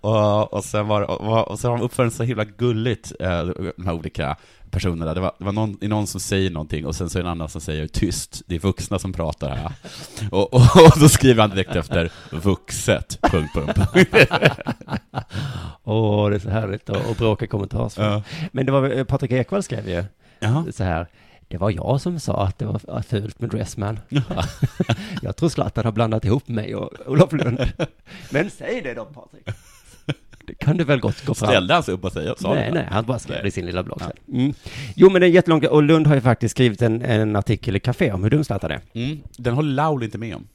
Speaker 6: Och, och sen var det- och, och sen har de uppfört så himla gulligt, eh, de här olika personerna. Det var, det var någon, det är någon som säger någonting och sen så är det en annan som säger tyst, det är vuxna som pratar här. Och, och, och då skriver han direkt efter vuxet, punkt, punkt, punkt.
Speaker 5: Åh, det är så härligt att, att bråka i kommentarsfält.
Speaker 6: Ja.
Speaker 5: Men det var väl- Patrik Ekwall skrev ju
Speaker 6: Ja.
Speaker 5: så här. Det var jag som sa att det var fult med
Speaker 6: *laughs*
Speaker 5: Dressman. *laughs* jag tror Zlatan har blandat ihop mig och Olof Lund. Men säg det då Patrik. Det kan du väl gott gå fram.
Speaker 6: Ställde han sig alltså, upp och säga, sa
Speaker 5: Nej,
Speaker 6: det?
Speaker 5: nej, han bara skrev det i sin lilla blogg sen. Mm. Jo, men det är jättelångt. Och Lund har ju faktiskt skrivit en, en artikel i Café om hur dumslattar det är.
Speaker 6: Mm. Den håller Laul inte med om.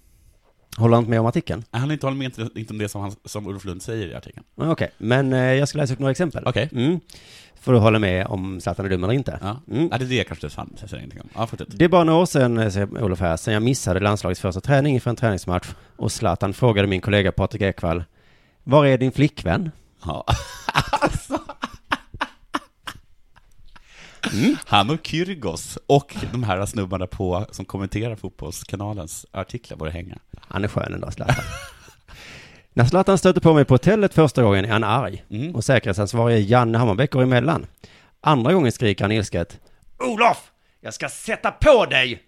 Speaker 5: Håller han inte med om artikeln?
Speaker 6: Nej, Han inte håller med inte, inte om det som, han, som Ulf Lund säger i artikeln.
Speaker 5: Ja, Okej, men eh, jag ska läsa upp några exempel. Okej. Mm. För att hålla med om Zlatan är dum eller inte.
Speaker 6: Ja.
Speaker 5: Mm.
Speaker 6: ja, det är det kanske det fan jag säger ingenting om. Ja, fortsätt.
Speaker 5: Det är bara några år sedan, eh, säger Olof här, sen jag missade landslagets första träning inför en träningsmatch och Zlatan frågade min kollega Patrik Ekwall, var är din flickvän? *laughs*
Speaker 6: Ja.
Speaker 5: Mm.
Speaker 6: Han och Kyrgos och de här snubbarna på, som kommenterar Fotbollskanalens artiklar borde hänga.
Speaker 5: Han är skön ändå, Zlatan. När Zlatan stöter på mig på hotellet första gången är han arg och säkerhetsansvarige Janne Hammarbäck går emellan. Andra gången skriker han ilsket, Olof! Jag ska sätta på dig!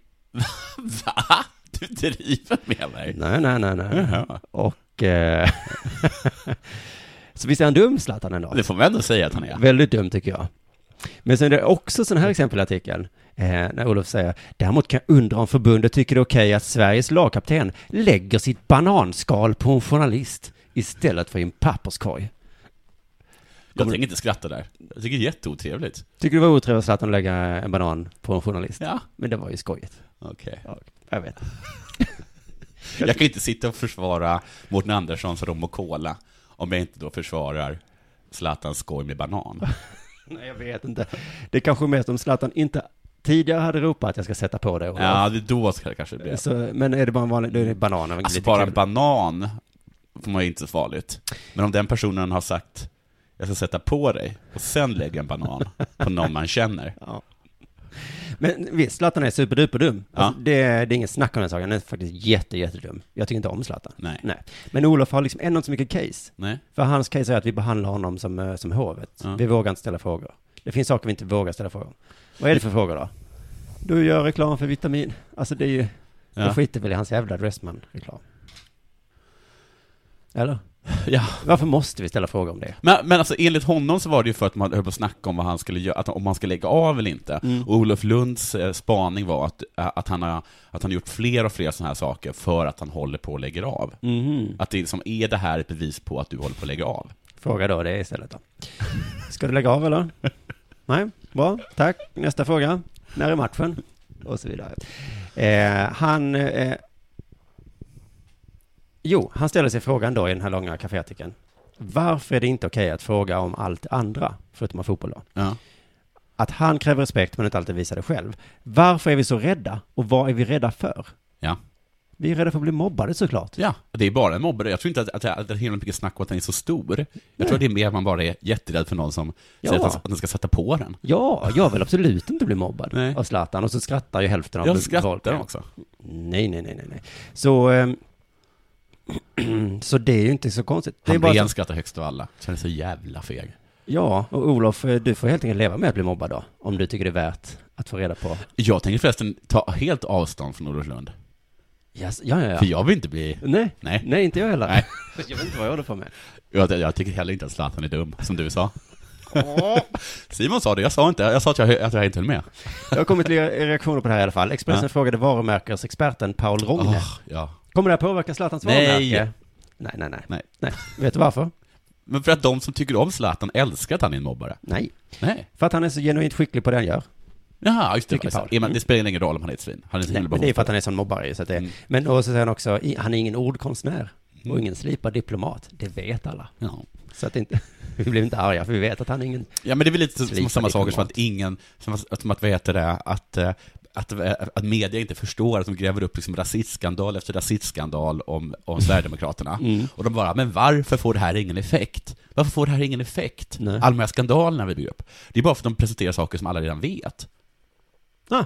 Speaker 6: Va? Du driver med mig?
Speaker 5: Nej, nej, nej, nej.
Speaker 6: Jaha.
Speaker 5: Och... Eh, *laughs* så visst är han dum, Zlatan ändå?
Speaker 6: Det får man ändå säga att han är.
Speaker 5: Väldigt dum, tycker jag. Men sen är det också sådana här exempel i artikeln, eh, när Olof säger Däremot kan jag undra om förbundet tycker det är okej att Sveriges lagkapten lägger sitt bananskal på en journalist istället för i en papperskorg.
Speaker 6: Jag tänker inte skratta där. Jag tycker det är jätteotrevligt.
Speaker 5: Tycker du det var otrevligt Zlatan att lägga en banan på en journalist?
Speaker 6: Ja.
Speaker 5: Men det var ju skojigt.
Speaker 6: Okej.
Speaker 5: Jag vet.
Speaker 6: Jag kan inte sitta och försvara Mårten Anderssons rom och cola om jag inte då försvarar Zlatans skoj
Speaker 5: *laughs*
Speaker 6: med banan.
Speaker 5: Nej, jag vet inte. Det är kanske mest om Zlatan inte tidigare hade ropat att jag ska sätta på dig. Olof.
Speaker 6: Ja, det är då ska det kanske bli.
Speaker 5: Så, men är det bara en vanlig, då är det banan.
Speaker 6: Alltså bara en banan får man ju inte så farligt. Men om den personen har sagt jag ska sätta på dig och sen lägga en banan på någon
Speaker 5: *laughs*
Speaker 6: man känner.
Speaker 5: Men visst, Zlatan är superduperdum. Alltså, det, är- det är ingen snack om den saken. Han är faktiskt jätte, jättedum. Jag tycker inte om Zlatan.
Speaker 6: Nej.
Speaker 5: Men Olof har liksom ändå inte så mycket case.
Speaker 6: Nej.
Speaker 5: För hans case är att vi behandlar honom som, eh, som hovet.
Speaker 6: Ja.
Speaker 5: Vi vågar inte ställa frågor. Det finns saker vi inte vågar ställa frågor om. Vad är det för frågor då? Du gör reklam för vitamin. Alltså det är ju...
Speaker 6: Ja.
Speaker 5: Jag skiter väl i hans jävla Dressman-reklam. Eller?
Speaker 6: Ja.
Speaker 5: Varför måste vi ställa frågor om det?
Speaker 6: Men, men alltså enligt honom så var det ju för att man höll på att snacka om vad han skulle göra, att, om han ska lägga av eller inte. Och Olof Lunds eh, spaning var att, eh, att, han har, att han har gjort fler och fler sådana här saker för att han håller på att lägga av.
Speaker 5: Mhm.
Speaker 6: Att det liksom, är det här ett bevis på att du håller på att lägga av?
Speaker 5: Fråga då det istället då. *laughs* Ska du lägga av *laughs* eller? Nej, bra, tack. Nästa fråga. När är matchen? Och så vidare. Eh, han... Eh, jo, han ställer sig frågan då i den här långa kaféartikeln. Varför är det inte okej att fråga om allt andra, förutom om fotboll då?
Speaker 6: Ja.
Speaker 5: Att han kräver respekt men inte alltid visar det själv. Varför är vi så rädda? Och vad är vi rädda för?
Speaker 6: Ja.
Speaker 5: Vi är rädda för att bli mobbade såklart.
Speaker 6: Ja, det är bara en mobbare. Jag tror inte att, att, att det är himla mycket snack om att den är så stor. Jag tror det är mer att man bara är jätterädd för någon som
Speaker 5: Ja.
Speaker 6: säger att, att den ska sätta på den.
Speaker 5: Ja, jag vill absolut inte bli mobbad
Speaker 6: Nej.
Speaker 5: av Zlatan. Och så skrattar ju hälften av
Speaker 6: Jag
Speaker 5: befolkningen.
Speaker 6: skrattar också.
Speaker 5: Nej, nej, nej, nej, nej. Så, ehm, *clears throat* så det är ju inte så konstigt. Det är
Speaker 6: Han
Speaker 5: bara
Speaker 6: ren
Speaker 5: så,
Speaker 6: skrattar högst av alla. Känner sig så jävla feg.
Speaker 5: ja, och Olof, eh, du får helt enkelt leva med att bli mobbad då, om du tycker det är värt att få reda på.
Speaker 6: Jag tänker förresten ta helt avstånd från Olof Lund.
Speaker 5: Yes, ja, ja, ja.
Speaker 6: För jag vill inte bli...
Speaker 5: Nej,
Speaker 6: Nej.
Speaker 5: nej, inte jag heller.
Speaker 6: Nej.
Speaker 5: *laughs* Jag vet inte vad jag håller på med.
Speaker 6: Jag, jag tycker heller inte att Zlatan är dum, som du sa. *laughs* Simon sa det, jag sa inte. Jag sa att jag, att jag inte höll med.
Speaker 5: Jag har kommit till re- reaktioner på det här i alla fall. Expressen
Speaker 6: Ja.
Speaker 5: frågade varumärkesexperten Paul Rogne.
Speaker 6: Åh, ja.
Speaker 5: Kommer det här påverka Zlatans
Speaker 6: Nej.
Speaker 5: varumärke? Nej, nej, nej.
Speaker 6: Nej.
Speaker 5: nej. Vet du varför?
Speaker 6: Men för att de som tycker om Zlatan älskar att han är en mobbare.
Speaker 5: Nej.
Speaker 6: Nej.
Speaker 5: För att han är så genuint skicklig på det han gör.
Speaker 6: Jaha, just det.
Speaker 5: Tycker Paul.
Speaker 6: Ja, men Det spelar ingen roll om han är ett svin. Han är ett
Speaker 5: Nej,
Speaker 6: himla bra
Speaker 5: men det är för att han är en sån mobbare ju, så att det,
Speaker 6: Mm.
Speaker 5: Men och så säger han också, i- han är ingen ordkonstnär
Speaker 6: Mm.
Speaker 5: och ingen slipad diplomat. Det vet
Speaker 6: *laughs*
Speaker 5: alla.
Speaker 6: Ja.
Speaker 5: Så att det inte, *laughs* vi blir inte arga för vi vet att han är ingen...
Speaker 6: Ja men det är väl lite som
Speaker 5: Slipade
Speaker 6: samma saker som
Speaker 5: diplomat.
Speaker 6: att ingen, som att, som att vad heter det, att, eh, att, eh, att media inte förstår att de gräver upp liksom rasistskandal efter rasistskandal om, om Sverigedemokraterna. Och de bara, men varför får det här ingen effekt? Varför får det här ingen effekt?
Speaker 5: Nej.
Speaker 6: Alla de här skandalerna vi bygger upp. Det är bara för att de presenterar saker som alla redan vet.
Speaker 5: Ah.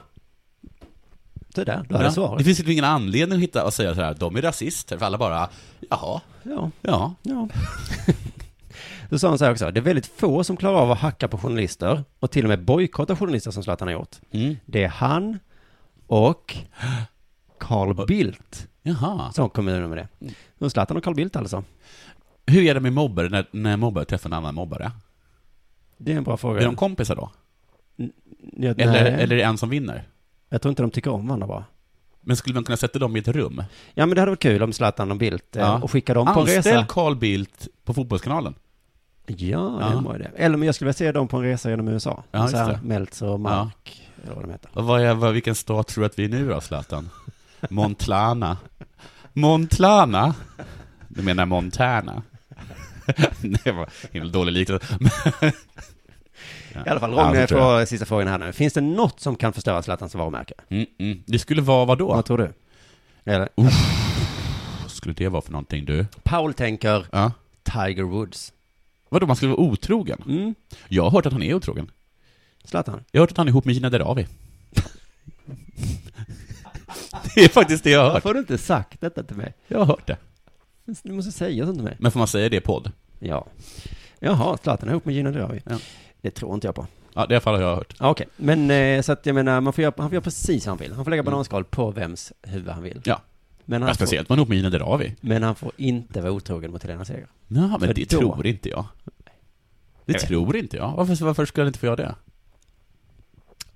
Speaker 5: Det där, då hade
Speaker 6: Ja.
Speaker 5: jag svaret.
Speaker 6: Det finns ju ingen anledning att hitta och säga så här, de är rasister, för alla bara, jaha,
Speaker 5: Ja.
Speaker 6: ja.
Speaker 5: ja. *laughs* Då sa han så här också, det är väldigt få som klarar av att hacka på journalister och till och med bojkotta journalister som Zlatan har gjort.
Speaker 6: Mm.
Speaker 5: Det är han
Speaker 6: *gasps*
Speaker 5: och Carl Bildt
Speaker 6: Jaha.
Speaker 5: som kommer nu med
Speaker 6: Mm.
Speaker 5: det. Så Zlatan och Carl Bildt alltså.
Speaker 6: Hur är det med mobbare när, när mobbare träffar en annan mobbare?
Speaker 5: Det är en bra fråga.
Speaker 6: Är de kompisar då?
Speaker 5: Ja,
Speaker 6: Eller,
Speaker 5: nej.
Speaker 6: eller är det en som vinner?
Speaker 5: Jag tror inte de tycker om varandra bara.
Speaker 6: Men skulle man kunna sätta dem i ett rum?
Speaker 5: Ja men det hade varit kul om Zlatan och Bildt eh, och skicka dem på en
Speaker 6: Anställ
Speaker 5: resa.
Speaker 6: Carl Bildt på Fotbollskanalen.
Speaker 5: Ja, det var det. Eller men jag skulle vilja se dem på en resa genom USA.
Speaker 6: Ja, just
Speaker 5: så här,
Speaker 6: det.
Speaker 5: Meltzer och Mark, eller vad de heter.
Speaker 6: Och vad är, vad, vilken stat tror du att vi är nu då, Zlatan? Montlana. Montlana? Du menar Montana? *laughs* Det var himla dålig liknelse.
Speaker 5: I alla fall,
Speaker 6: Ja,
Speaker 5: Ronny
Speaker 6: det tror
Speaker 5: får sista frågan här nu. Finns det något som kan förstöra Zlatans varumärke?
Speaker 6: Mm, mm. Det skulle vara vad då?
Speaker 5: Vad tror du? Eller?
Speaker 6: Vad skulle det vara för någonting du?
Speaker 5: Paul tänker
Speaker 6: Ja.
Speaker 5: Tiger Woods. Mm,
Speaker 6: Vadå, man skulle vara otrogen? Jag har hört att han är otrogen.
Speaker 5: Zlatan?
Speaker 6: Jag har hört att han är ihop med
Speaker 5: *laughs*
Speaker 6: Gina Dirawi. det är faktiskt det jag har
Speaker 5: Varför har
Speaker 6: hört.
Speaker 5: du inte sagt detta till mig?
Speaker 6: Jag har hört det.
Speaker 5: Du måste säga sånt till mig.
Speaker 6: Men får man säga det i podd?
Speaker 5: Ja. Jaha, Zlatan är ihop med Gina Dirawi. Det tror inte jag på.
Speaker 6: Ja, det i alla fall har jag hört.
Speaker 5: Ja, Okej, men eh, så att jag menar, man får göra, han får göra precis vad han vill. Han får
Speaker 6: Mm.
Speaker 5: lägga bananskal på vems huvud han vill.
Speaker 6: Ja.
Speaker 5: Men
Speaker 6: Ja,
Speaker 5: han, får,
Speaker 6: speciellt man är ihop med Gina Dirawi.
Speaker 5: men han får inte vara otrogen mot Helena Seger.
Speaker 6: Nej, men
Speaker 5: För
Speaker 6: det
Speaker 5: då-
Speaker 6: tror inte jag. Det
Speaker 5: Jag vet.
Speaker 6: tror inte jag. Varför, varför skulle jag inte få göra det?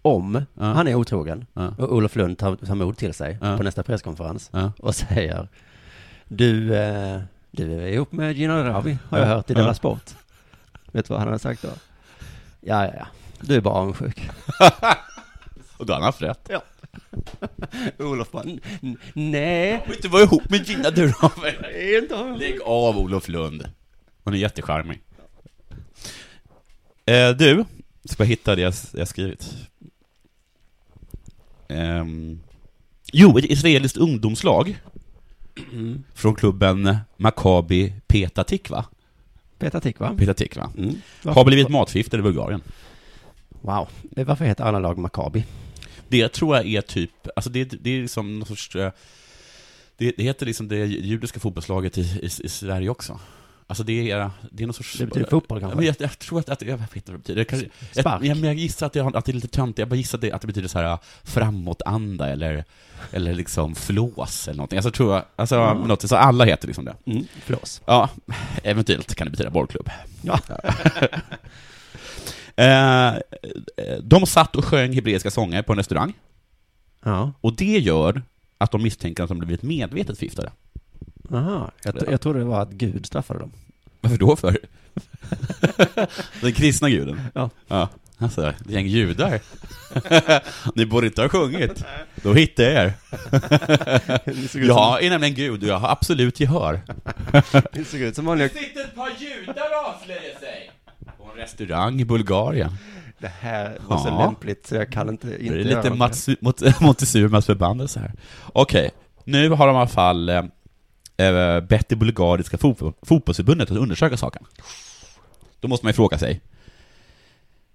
Speaker 5: Om
Speaker 6: Ja.
Speaker 5: han är otrogen
Speaker 6: Ja.
Speaker 5: och Olof Lund tar, tar mod till sig
Speaker 6: Ja.
Speaker 5: på nästa presskonferens
Speaker 6: Ja.
Speaker 5: och säger Du, eh, du är ihop med Gina Ravi har jag
Speaker 6: Ja.
Speaker 5: hört i Della
Speaker 6: Ja.
Speaker 5: Sport. Vet du vad han hade sagt då? Ja, ja, ja. Du är bara
Speaker 6: *laughs*
Speaker 5: avundsjuk.
Speaker 6: Och då har han haft rätt.
Speaker 5: Olof bara, "N- n- nej.
Speaker 6: Och inte vara ihop med Gina Dirawi.
Speaker 5: det är inte avundsjuk."
Speaker 6: *laughs* Lägg av Olof Lund. Hon är jättecharmig. Eh, du, ska jag hitta det jag, jag skrivit. Ehm, jo, ett israeliskt ungdomslag. Från klubben Maccabi Peta Tikva.
Speaker 5: Petar Tikva.
Speaker 6: Peta Tikva.
Speaker 5: Mm.
Speaker 6: Har blivit matförgiftad i Bulgarien.
Speaker 5: Wow. Eh, Varför heter alla lag Maccabi?
Speaker 6: Det tror jag är typ, alltså det, det är liksom någon sorts, eh, det, det heter liksom det judiska fotbollslaget i, i, i Sverige också. Alltså det är, det är någon sorts...
Speaker 5: Det betyder fotboll kanske?
Speaker 6: Men jag, jag tror att, att jag vet inte vad det betyder. Det kanske,
Speaker 5: Spark.
Speaker 6: ett, ja, men jag gissar att det, har- att det är lite töntigt, jag bara gissar att det, att det betyder så här eh, framåtanda eller, eller liksom flås eller någonting. Alltså tror jag, alltså något, så alla heter liksom det.
Speaker 5: Mm. Flås.
Speaker 6: Ja, eventuellt kan det betyda bollklubb.
Speaker 5: Ja.
Speaker 6: *laughs* Eh, de satt och sjöng hebreiska sånger på en restaurang.
Speaker 5: Ja.
Speaker 6: Och det gör att de misstänker att de blivit medvetet förgiftade.
Speaker 5: Aha. Jag, tro- jag trodde det var att Gud straffade dem.
Speaker 6: Varför då för? *laughs* Den kristna guden?
Speaker 5: *laughs* Ja.
Speaker 6: ja. Alltså, ett gäng judar. *laughs* Ni borde inte ha sjungit. Då hittar jag er. Jag är nämligen gud och jag har absolut gehör.
Speaker 5: Det såg ut som vanliga...
Speaker 6: sitter ett par judar och avslöjar sig. På en restaurang i Bulgarien.
Speaker 5: Det här var så
Speaker 6: Ja.
Speaker 5: lämpligt så jag kan inte... inte
Speaker 6: Det är
Speaker 5: göra
Speaker 6: lite
Speaker 5: något.
Speaker 6: Mats, mot, *laughs* Montezumas förbannelse här. Okej, nu har de i alla fall eh, eh, bett det bulgariska fotbo- fotbollsförbundet att undersöka saken. Då måste man ju fråga sig.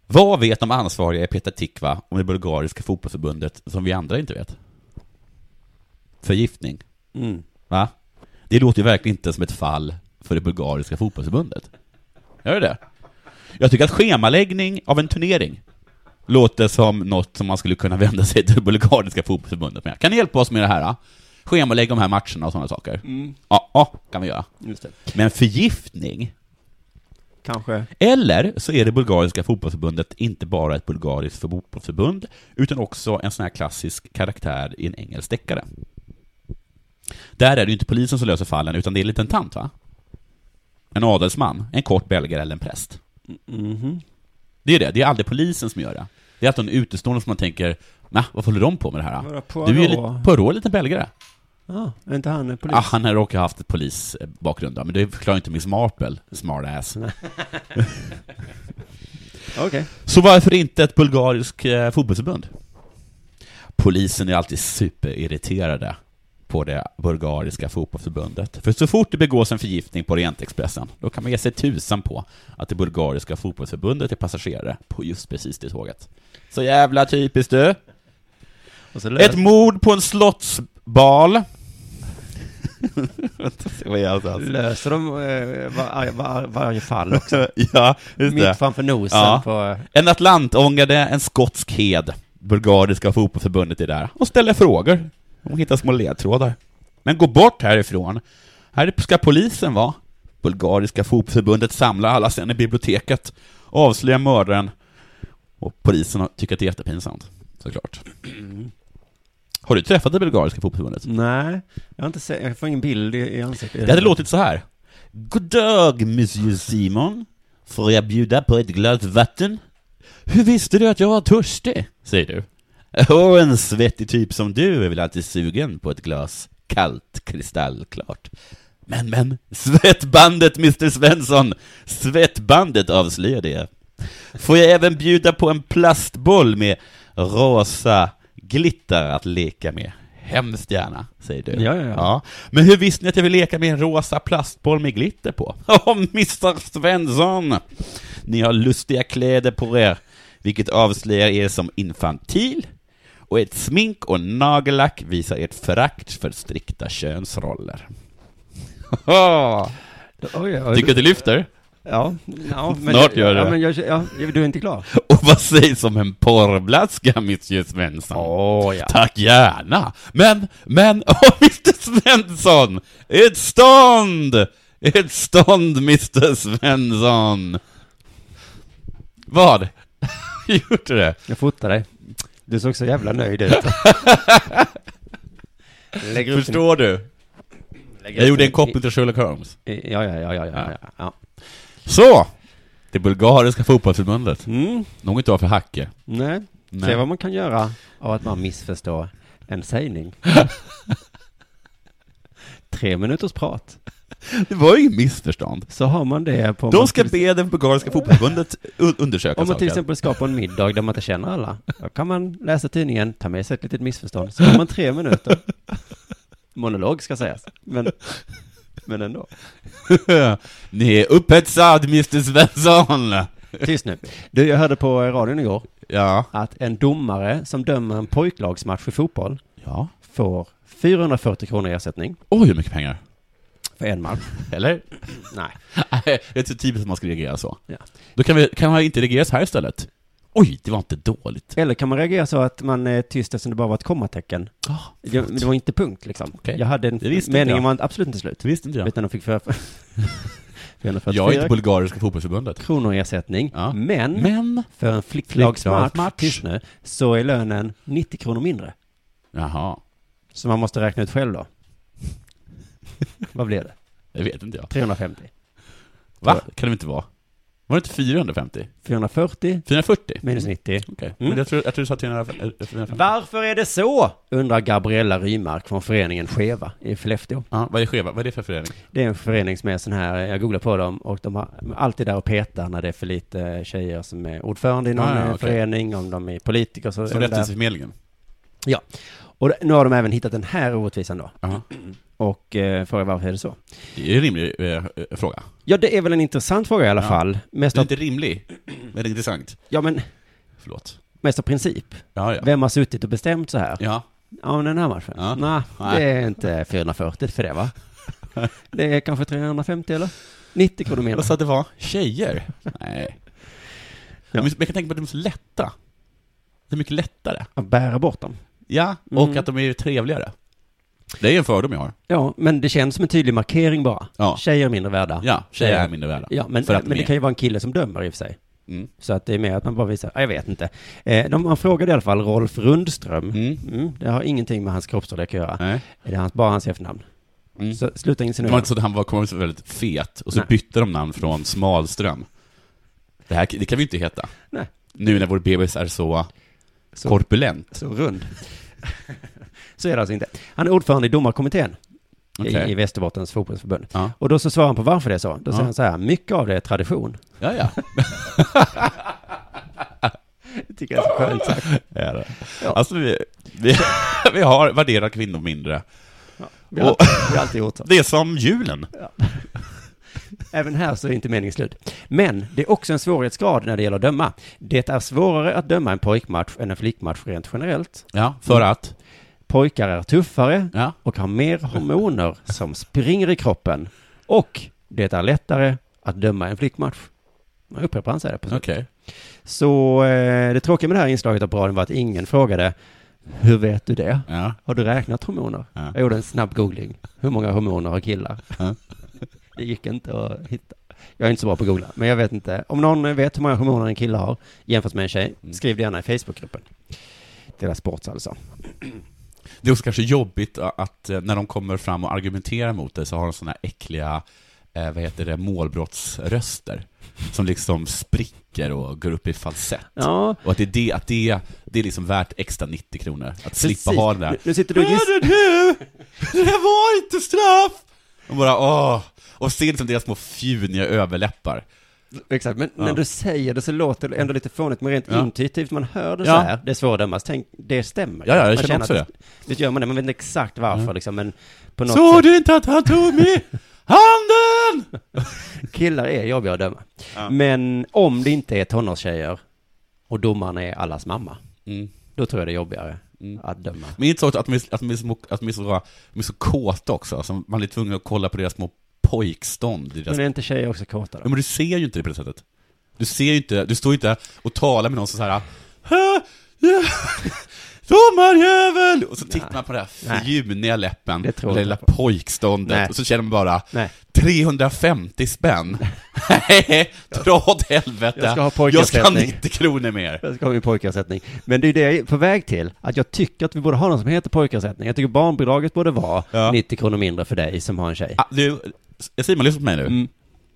Speaker 6: Vad vet de ansvariga i Peta Tikva om det bulgariska fotbollsförbundet som vi andra inte vet? Förgiftning,
Speaker 5: Mm.
Speaker 6: va? Det låter ju verkligen inte som ett fall för det bulgariska fotbollsförbundet. Gör det det? Jag tycker att schemaläggning av en turnering låter som något som man skulle kunna *laughs* vända sig till det bulgariska fotbollsförbundet med. Kan ni hjälpa oss med det här? Då? Schemalägga de här matcherna och sådana saker. Ja, ja, kan vi göra.
Speaker 5: Just det.
Speaker 6: Men förgiftning?
Speaker 5: Kanske.
Speaker 6: Eller så är det bulgariska fotbollsförbundet inte bara ett bulgariskt fotbollsförbund, utan också en sån här klassisk karaktär i en engelsk deckare. Där är det ju inte polisen som löser fallen, utan det är en liten tant, va? En adelsman, en kort belgare eller en präst.
Speaker 5: Mhm.
Speaker 6: Det är det, det är aldrig polisen som gör det. Det är att de är utestående som man tänker, nah, vad håller de på med det här?
Speaker 5: Vadå,
Speaker 6: då?
Speaker 5: Poirot?
Speaker 6: Du är ju lite, Poirot är lite belgare.
Speaker 5: Ja, är inte han polis?
Speaker 6: Ah, han har råkat haft ett polisbakgrund, då, men det förklarar inte Miss Marple, smart ass.
Speaker 5: Okej.
Speaker 6: Så varför inte ett bulgariskt eh, fotbollsförbund? Polisen är alltid superirriterade på det bulgariska fotbollsförbundet. För så fort det begås en förgiftning på Orientexpressen, då kan man ge sig tusan på att det bulgariska fotbollsförbundet är passagerare på just precis det tåget. Så jävla typiskt du!
Speaker 5: Och så lös...
Speaker 6: Ett mord på en slottsbal. Vad är alltså?
Speaker 5: löser de eh, var, var, varje fall *laughs* också.
Speaker 6: Ja, just det.
Speaker 5: Mitt framför nosen
Speaker 6: Ja.
Speaker 5: på...
Speaker 6: En atlantångare, en skotsk hed. Bulgariska fotbollsförbundet är där och ställer frågor. De hittar små ledtrådar. Men gå bort härifrån. Här ska polisen vara. Bulgariska fotbollsförbundet samlar alla sen i biblioteket, avslöjar mördaren och polisen har- tycker att det är jättepinsamt, såklart. Mm. Har du träffat det bulgariska fotbollsförbundet?
Speaker 5: Nej, jag har inte sett, jag får ingen bild i, i ansiktet.
Speaker 6: Det hade låtit så här. God dag, monsieur Simon. Får jag bjuda på ett glas vatten? Hur visste du att jag var törstig? Säger du. Och en svettig typ som du är väl alltid sugen på ett glas kallt, kristallklart. Men, men, svettbandet, Mr Svensson! Svettbandet avslöjade jag. Får jag även bjuda på en plastboll med rosa glitter att leka med? Hemskt gärna, säger du.
Speaker 11: Ja, ja, ja.
Speaker 6: Men hur visste ni att jag vill leka med en rosa plastboll med glitter på? *laughs* Åh, Mr Svensson! Ni har lustiga kläder på er, vilket avslöjar er som infantil, och ett smink och nagellack visar ert förakt för strikta könsroller. *laughs* Tycker att det lyfter?
Speaker 5: Ja, ja men-
Speaker 6: Snart gör det.
Speaker 5: Ja, men jag, ja, du är inte klar.
Speaker 6: *laughs* Och vad sägs om en porrblaska, Mr Svensson? Tack gärna! Men, men, *laughs* åh Mr Svensson! Ett stånd! Ett stånd, Mr Svensson! Vad? *laughs* Gjorde du det?
Speaker 5: Jag fotar dig. Du såg så jävla nöjd *laughs* ut. Lägg upp
Speaker 6: Förstår
Speaker 5: din-
Speaker 6: du?
Speaker 5: Lägg
Speaker 6: Jag
Speaker 5: upp
Speaker 6: gjorde
Speaker 5: din-
Speaker 6: en koppling till Sherlock Holmes.
Speaker 5: Ja, ja, ja, ja, ja, ja. ja.
Speaker 6: Så! Det bulgariska fotbollsförbundet.
Speaker 5: Mm.
Speaker 6: Något av för hacke.
Speaker 5: Nej.
Speaker 6: Nej.
Speaker 5: Se vad man kan göra av att man missförstår en
Speaker 6: *laughs*
Speaker 5: sägning. Tre minuters prat.
Speaker 6: Det var ju inget missförstånd.
Speaker 5: Så har man det på...
Speaker 6: De
Speaker 5: man
Speaker 6: ska be det bulgariska fotbollsförbundet un- undersöka
Speaker 5: Om man till
Speaker 6: saken.
Speaker 5: exempel ska på en middag där man inte känner alla, då kan man läsa tidningen, ta med sig ett litet missförstånd, så har man tre
Speaker 6: *laughs*
Speaker 5: minuter. Monolog ska sägas, men, men ändå.
Speaker 6: *laughs* Ni är upphetsad, Mr Svensson!
Speaker 5: Tyst nu. Du, jag hörde på radion igår
Speaker 6: ja.
Speaker 5: att en domare som dömer en pojklagsmatch i fotboll
Speaker 6: ja.
Speaker 5: får 440 kronor i ersättning
Speaker 6: Oj, hur mycket pengar?
Speaker 5: för en match.
Speaker 6: Eller? *laughs*
Speaker 5: Nej.
Speaker 6: Nej, det är så typiskt att man ska reagera så.
Speaker 5: Ja.
Speaker 6: Då kan, vi, kan man inte reagera så här istället. Oj, det var inte dåligt.
Speaker 5: Eller kan man reagera så att man är tyst eftersom det bara var ett kommatecken?
Speaker 6: Ah,
Speaker 5: det, det var inte punkt liksom.
Speaker 6: Okej.
Speaker 5: Jag hade en,
Speaker 6: Det visste inte
Speaker 5: meningen
Speaker 6: jag.
Speaker 5: var absolut inte slut.
Speaker 6: Det visste inte *laughs* jag.
Speaker 5: Utan de fick för, 444
Speaker 6: Jag är inte bulgariska fotbollsförbundet.
Speaker 5: kronor i ersättning.
Speaker 6: Ja.
Speaker 5: Men,
Speaker 6: Men?
Speaker 5: för en flicklagsmatch,
Speaker 6: Flicklagsmatch.
Speaker 5: tyst nu, så är lönen 90 kronor mindre.
Speaker 6: Jaha,
Speaker 5: Så man måste räkna ut själv
Speaker 6: *laughs*
Speaker 5: då. Vad blev det?
Speaker 6: det vet inte jag.
Speaker 5: 350.
Speaker 6: Va? Kan det inte vara? Var det inte 450?
Speaker 5: 440
Speaker 6: 440?
Speaker 5: minus 90.
Speaker 6: Okej,
Speaker 5: Mm.
Speaker 6: men jag tror, jag tror du sa eh, 450.
Speaker 5: Varför är det så? Undrar Gabriella Rymark från föreningen Skeva i Skellefteå.
Speaker 6: Ja, vad är skeva? Vad är det för förening?
Speaker 5: Det är en förening som är sån här, jag googlar på dem och de har de är alltid där och petar när det är för lite tjejer som är ordförande i någon
Speaker 6: Ah, ja,
Speaker 5: eh,
Speaker 6: okej.
Speaker 5: förening, om de är politiker så
Speaker 6: Som
Speaker 5: är de där.
Speaker 6: Rättviseförmedlingen?
Speaker 5: Ja. Och nu har de även hittat den här orättvisan då.
Speaker 6: Jaha.
Speaker 5: Och eh, frågar varför är det så?
Speaker 6: Det är en rimlig eh, eh, fråga.
Speaker 5: Ja, det är väl en intressant fråga i alla
Speaker 6: Ja.
Speaker 5: fall. Mest
Speaker 6: Det är
Speaker 5: av,
Speaker 6: inte rimlig, men det är intressant.
Speaker 5: ja, men
Speaker 6: Förlåt.
Speaker 5: mest av princip.
Speaker 6: Ja, ja.
Speaker 5: Vem har suttit och bestämt så här?
Speaker 6: Ja,
Speaker 5: Ja, men den här matchen?
Speaker 6: Ja.
Speaker 5: Nej,
Speaker 6: Nej.
Speaker 5: det är inte 440 för det
Speaker 6: *laughs*
Speaker 5: va? Det är kanske 350 eller? 90 kronor mer.
Speaker 6: Jag sa att det var tjejer. Nej.
Speaker 5: Ja.
Speaker 6: Men jag kan tänka på att de är så lätta. Det är mycket lättare.
Speaker 5: Att bära bort dem.
Speaker 6: Ja, och
Speaker 5: Mm.
Speaker 6: att de är trevligare. Det är en fördom jag har.
Speaker 5: Ja, men det känns som en tydlig markering bara.
Speaker 6: Ja.
Speaker 5: Tjejer är mindre värda.
Speaker 6: Ja, tjejer är mindre värda.
Speaker 5: Ja, men,
Speaker 6: För att de
Speaker 5: men det
Speaker 6: är.
Speaker 5: kan ju vara en kille som dömer i och för sig.
Speaker 6: Mm.
Speaker 5: Så att det är mer att man bara visar, ja, jag vet inte. Eh, de, man frågade i alla fall Rolf Rundström.
Speaker 6: Mm.
Speaker 5: Mm, det har ingenting med hans kroppsstorlek att göra.
Speaker 6: Nej.
Speaker 5: Det är hans, bara hans efternamn.
Speaker 6: Mm.
Speaker 5: Så sluta
Speaker 6: Det var
Speaker 5: insinuera.
Speaker 6: inte så att han var, kom så väldigt fet, och så
Speaker 5: Nej.
Speaker 6: bytte de namn från Smalström. Det här det kan vi inte heta.
Speaker 5: Nej.
Speaker 6: Nu när vår bebis är så,
Speaker 5: Så-
Speaker 6: korpulent.
Speaker 5: Så rund. *laughs* så är det alltså inte. Han är ordförande i domarkommittén
Speaker 6: Okej.
Speaker 5: i, i Västerbottens fotbollsförbund.
Speaker 6: Ja.
Speaker 5: Och då så svarar han på varför det är så. Då säger
Speaker 6: Ja.
Speaker 5: han så här, mycket av det är tradition.
Speaker 6: Ja, *laughs* ja.
Speaker 5: Det tycker jag är så skönt *laughs* sagt.
Speaker 6: Är det.
Speaker 5: Ja.
Speaker 6: Alltså, vi, vi, *laughs* vi har värderat kvinnor mindre.
Speaker 5: Vi har,
Speaker 6: Och-
Speaker 5: vi har alltid gjort så.
Speaker 6: Det är som julen.
Speaker 5: Även här så är inte meningen slut. Men det är också en svårighetsgrad när det gäller att döma. Det är svårare att döma en pojkmatch än en flickmatch rent generellt.
Speaker 6: Ja, för att?
Speaker 5: Pojkar är tuffare
Speaker 6: Ja.
Speaker 5: och har mer hormoner som springer i kroppen. Och det är lättare att döma en flickmatch. Jag upprepar han säger det på slutet.
Speaker 6: Okej.
Speaker 5: Så eh, det tråkiga med det här inslaget av radion var att ingen frågade hur vet du det?
Speaker 6: Ja.
Speaker 5: Har du räknat hormoner?
Speaker 6: Ja.
Speaker 5: Jag gjorde en snabb googling. Hur många hormoner har killar?
Speaker 6: Ja.
Speaker 5: *laughs* Det gick inte att hitta. Jag är inte så bra på att googla, men jag vet inte. Om någon vet hur många hormoner en kille har jämfört med en tjej,
Speaker 6: Mm.
Speaker 5: skriv det gärna i Facebookgruppen. Dela Sports alltså.
Speaker 6: Det är också kanske jobbigt att eh, när de kommer fram och argumenterar mot dig så har de sådana här äckliga eh, vad heter det, målbrottsröster som liksom spricker och går upp i falsett.
Speaker 5: Ja.
Speaker 6: Och att det är det, att det, det är liksom värt extra 90 kronor, att slippa
Speaker 5: Precis.
Speaker 6: ha den där.
Speaker 5: Nu- nu sitter du och giss-
Speaker 6: Hör du? Det här var inte straff! Och bara åh, och ser liksom deras små fjuniga överläppar.
Speaker 5: Exakt, men
Speaker 6: Ja.
Speaker 5: när du säger det så låter det ändå lite fånigt, men rent
Speaker 6: Ja.
Speaker 5: intuitivt, man hör det
Speaker 6: Ja.
Speaker 5: så här, det är svårdömas, tänk, det stämmer.
Speaker 6: Ja, ja, jag
Speaker 5: Man
Speaker 6: känner också
Speaker 5: att, Visst gör man det, man vet inte exakt varför liksom, men på något
Speaker 6: Såg
Speaker 5: sätt,
Speaker 6: du inte att han tog mig? Handen!
Speaker 5: killar är jobbiga att döma. Men om det inte är tonårstjejer och domaren är allas mamma,
Speaker 6: Mm.
Speaker 5: då tror jag det är jobbigare att döma.
Speaker 6: Men inte så att de är, att de är, så, att de är, så, de är så kåta också, så man är tvungen att kolla på deras små pojkstånd. i Deras...
Speaker 5: Men är inte tjejer också kåta då?
Speaker 6: Men du ser ju inte det på det sättet. Du ser ju inte, du står ju inte och talar med någon som så här "Hä? Ja. *laughs* Domarjävel! Och så tittar man på det här
Speaker 5: Nej.
Speaker 6: fjuniga läppen,
Speaker 5: Det tror
Speaker 6: det
Speaker 5: jag
Speaker 6: lilla
Speaker 5: inte
Speaker 6: pojkståndet,
Speaker 5: Nej.
Speaker 6: och så känner man bara
Speaker 5: Nej.
Speaker 6: 350 spänn! Nej,
Speaker 5: *laughs*
Speaker 6: dra åt helvete!
Speaker 5: Jag ska ha
Speaker 6: jag ska ha
Speaker 5: pojkersättning.
Speaker 6: 90 kronor mer!
Speaker 5: Jag ska ha min pojkersättning. Men det är ju det jag är på väg till, att jag tycker att vi borde ha någon som heter pojkersättning. Jag tycker barnbidraget borde vara 90 kronor mindre för dig som har en tjej.
Speaker 6: Ah, Du, Simon, lyssna på mig nu.
Speaker 5: Mm.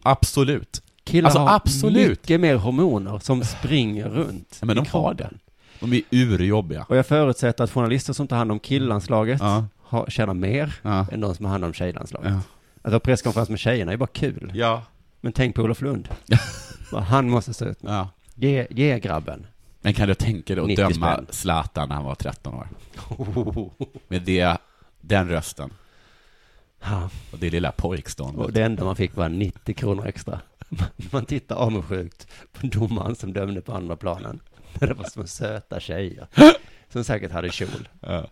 Speaker 6: Absolut.
Speaker 5: Killar
Speaker 6: alltså,
Speaker 5: har
Speaker 6: absolut.
Speaker 5: mycket mer hormoner som springer runt.
Speaker 6: Ja, men
Speaker 5: i
Speaker 6: de har
Speaker 5: kroppen.
Speaker 6: det. De är urjobbiga.
Speaker 5: Och jag förutsätter att journalister som tar hand om killandslaget
Speaker 6: Ja.
Speaker 5: har, tjänar mer
Speaker 6: Ja.
Speaker 5: än de som har hand om tjejlandslaget.
Speaker 6: Ja.
Speaker 5: Att ha presskonferens med tjejerna är bara kul.
Speaker 6: Ja.
Speaker 5: Men tänk på Olof Lund. *laughs* Vad han måste stå ut med.
Speaker 6: Ja.
Speaker 5: Ge, ge grabben.
Speaker 6: Men kan du tänka dig att
Speaker 5: 90
Speaker 6: döma
Speaker 5: spänn.
Speaker 6: Zlatan när han var
Speaker 5: *laughs*
Speaker 6: 13 år? Med det, den rösten.
Speaker 5: Ja.
Speaker 6: Och det lilla pojkståndet.
Speaker 5: Och det enda man fick var 90 kronor extra. *laughs* Man tittar avundsjukt på domaren som dömde på andra planen. *laughs* Det var små söta tjejer.
Speaker 6: *laughs*
Speaker 5: Som säkert hade kjol.
Speaker 6: Ja.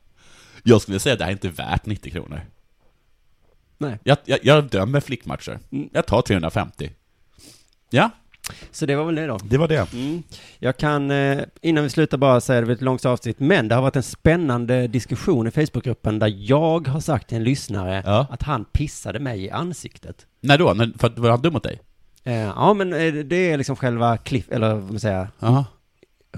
Speaker 6: Jag skulle säga att det här är inte värt 90 kronor.
Speaker 5: Nej. Mm.
Speaker 6: Jag, jag, jag dömer flickmatcher. Jag tar 350. Ja,
Speaker 5: Så det var väl det då.
Speaker 6: det var det.
Speaker 5: Mm. Jag kan, eh, innan vi slutar bara säga, det blir ett långt avsnitt, men det har varit en spännande diskussion i Facebookgruppen där jag har sagt till en lyssnare
Speaker 6: Ja.
Speaker 5: att han pissade mig i ansiktet.
Speaker 6: När då? När, för att var han dum mot dig?
Speaker 5: Eh, ja, men eh, det är liksom själva cliff, eller vad man säger,
Speaker 6: Jaha.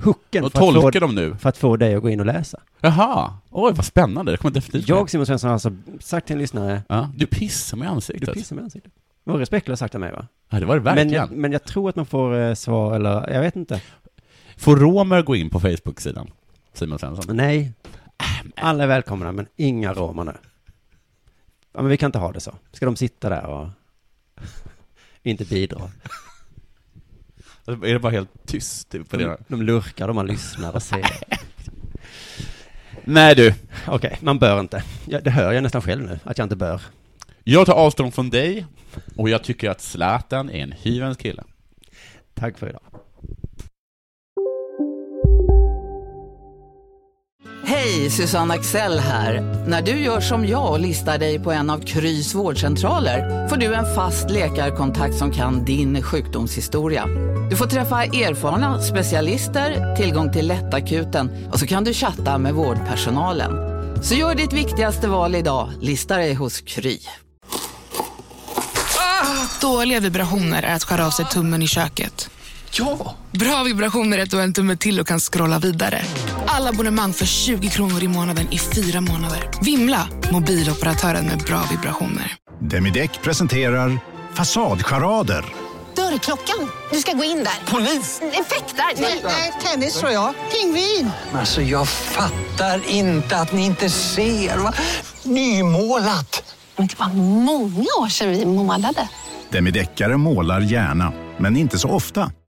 Speaker 5: hooken
Speaker 6: Och
Speaker 5: för att, få,
Speaker 6: tolkar de nu?
Speaker 5: för att få dig att gå in och läsa.
Speaker 6: Jaha. Oj, vad spännande. Det kommer definitivt
Speaker 5: Jag, Simon Svensson, har alltså sagt till en lyssnare,
Speaker 6: Ja, du pissar mig i
Speaker 5: du
Speaker 6: ansiktet.
Speaker 5: pissar mig i ansiktet. Det var respektlöst sagt av mig va?
Speaker 6: Ja, det var det
Speaker 5: Men
Speaker 6: verkligen.
Speaker 5: jag, men jag tror att man får eh, svar, eller jag vet inte.
Speaker 6: Får romer gå in på Facebook-sidan? Simon Svensson?
Speaker 5: Nej. Alla är välkomna, men inga romer nu. Ja, men vi kan inte ha det så. Ska de sitta där och *laughs* inte bidra? Mm.
Speaker 6: Alltså, Är det bara helt tyst typ, på
Speaker 5: De,
Speaker 6: det?
Speaker 5: de lurkar, de man lyssnar och ser.
Speaker 6: Nej du,
Speaker 5: Okej, man bör inte. Ja, det hör jag nästan själv nu, att jag inte bör.
Speaker 6: jag tar avstånd från dig och jag tycker att Zlatan är en hyvens kille.
Speaker 5: Tack för idag.
Speaker 12: Hej, Susanne Axel här. När du gör som jag och listar dig på en av Krys vårdcentraler får du en fast läkarkontakt som kan din sjukdomshistoria. Du får träffa erfarna specialister, tillgång till lättakuten och så kan du chatta med vårdpersonalen. Så gör ditt viktigaste val idag, lista dig hos Kry.
Speaker 13: Dåliga vibrationer är att skära av sig tummen i köket. Ja! Bra vibrationer är att du har en tumme till och kan scrolla vidare. Alla abonnemang för 20 kronor i månaden i fyra månader. Vimla! Mobiloperatören med bra vibrationer.
Speaker 14: Demideck presenterar Fasadcharader.
Speaker 15: Dörrklockan. Du ska gå in där. Polis? Effektar? Nej, tennis tror jag. Pingvin.
Speaker 16: Alltså jag fattar inte att ni inte ser. Va? Nymålat!
Speaker 15: Men det var många år sedan vi målade.
Speaker 14: Demideckare målar gärna, men inte så ofta.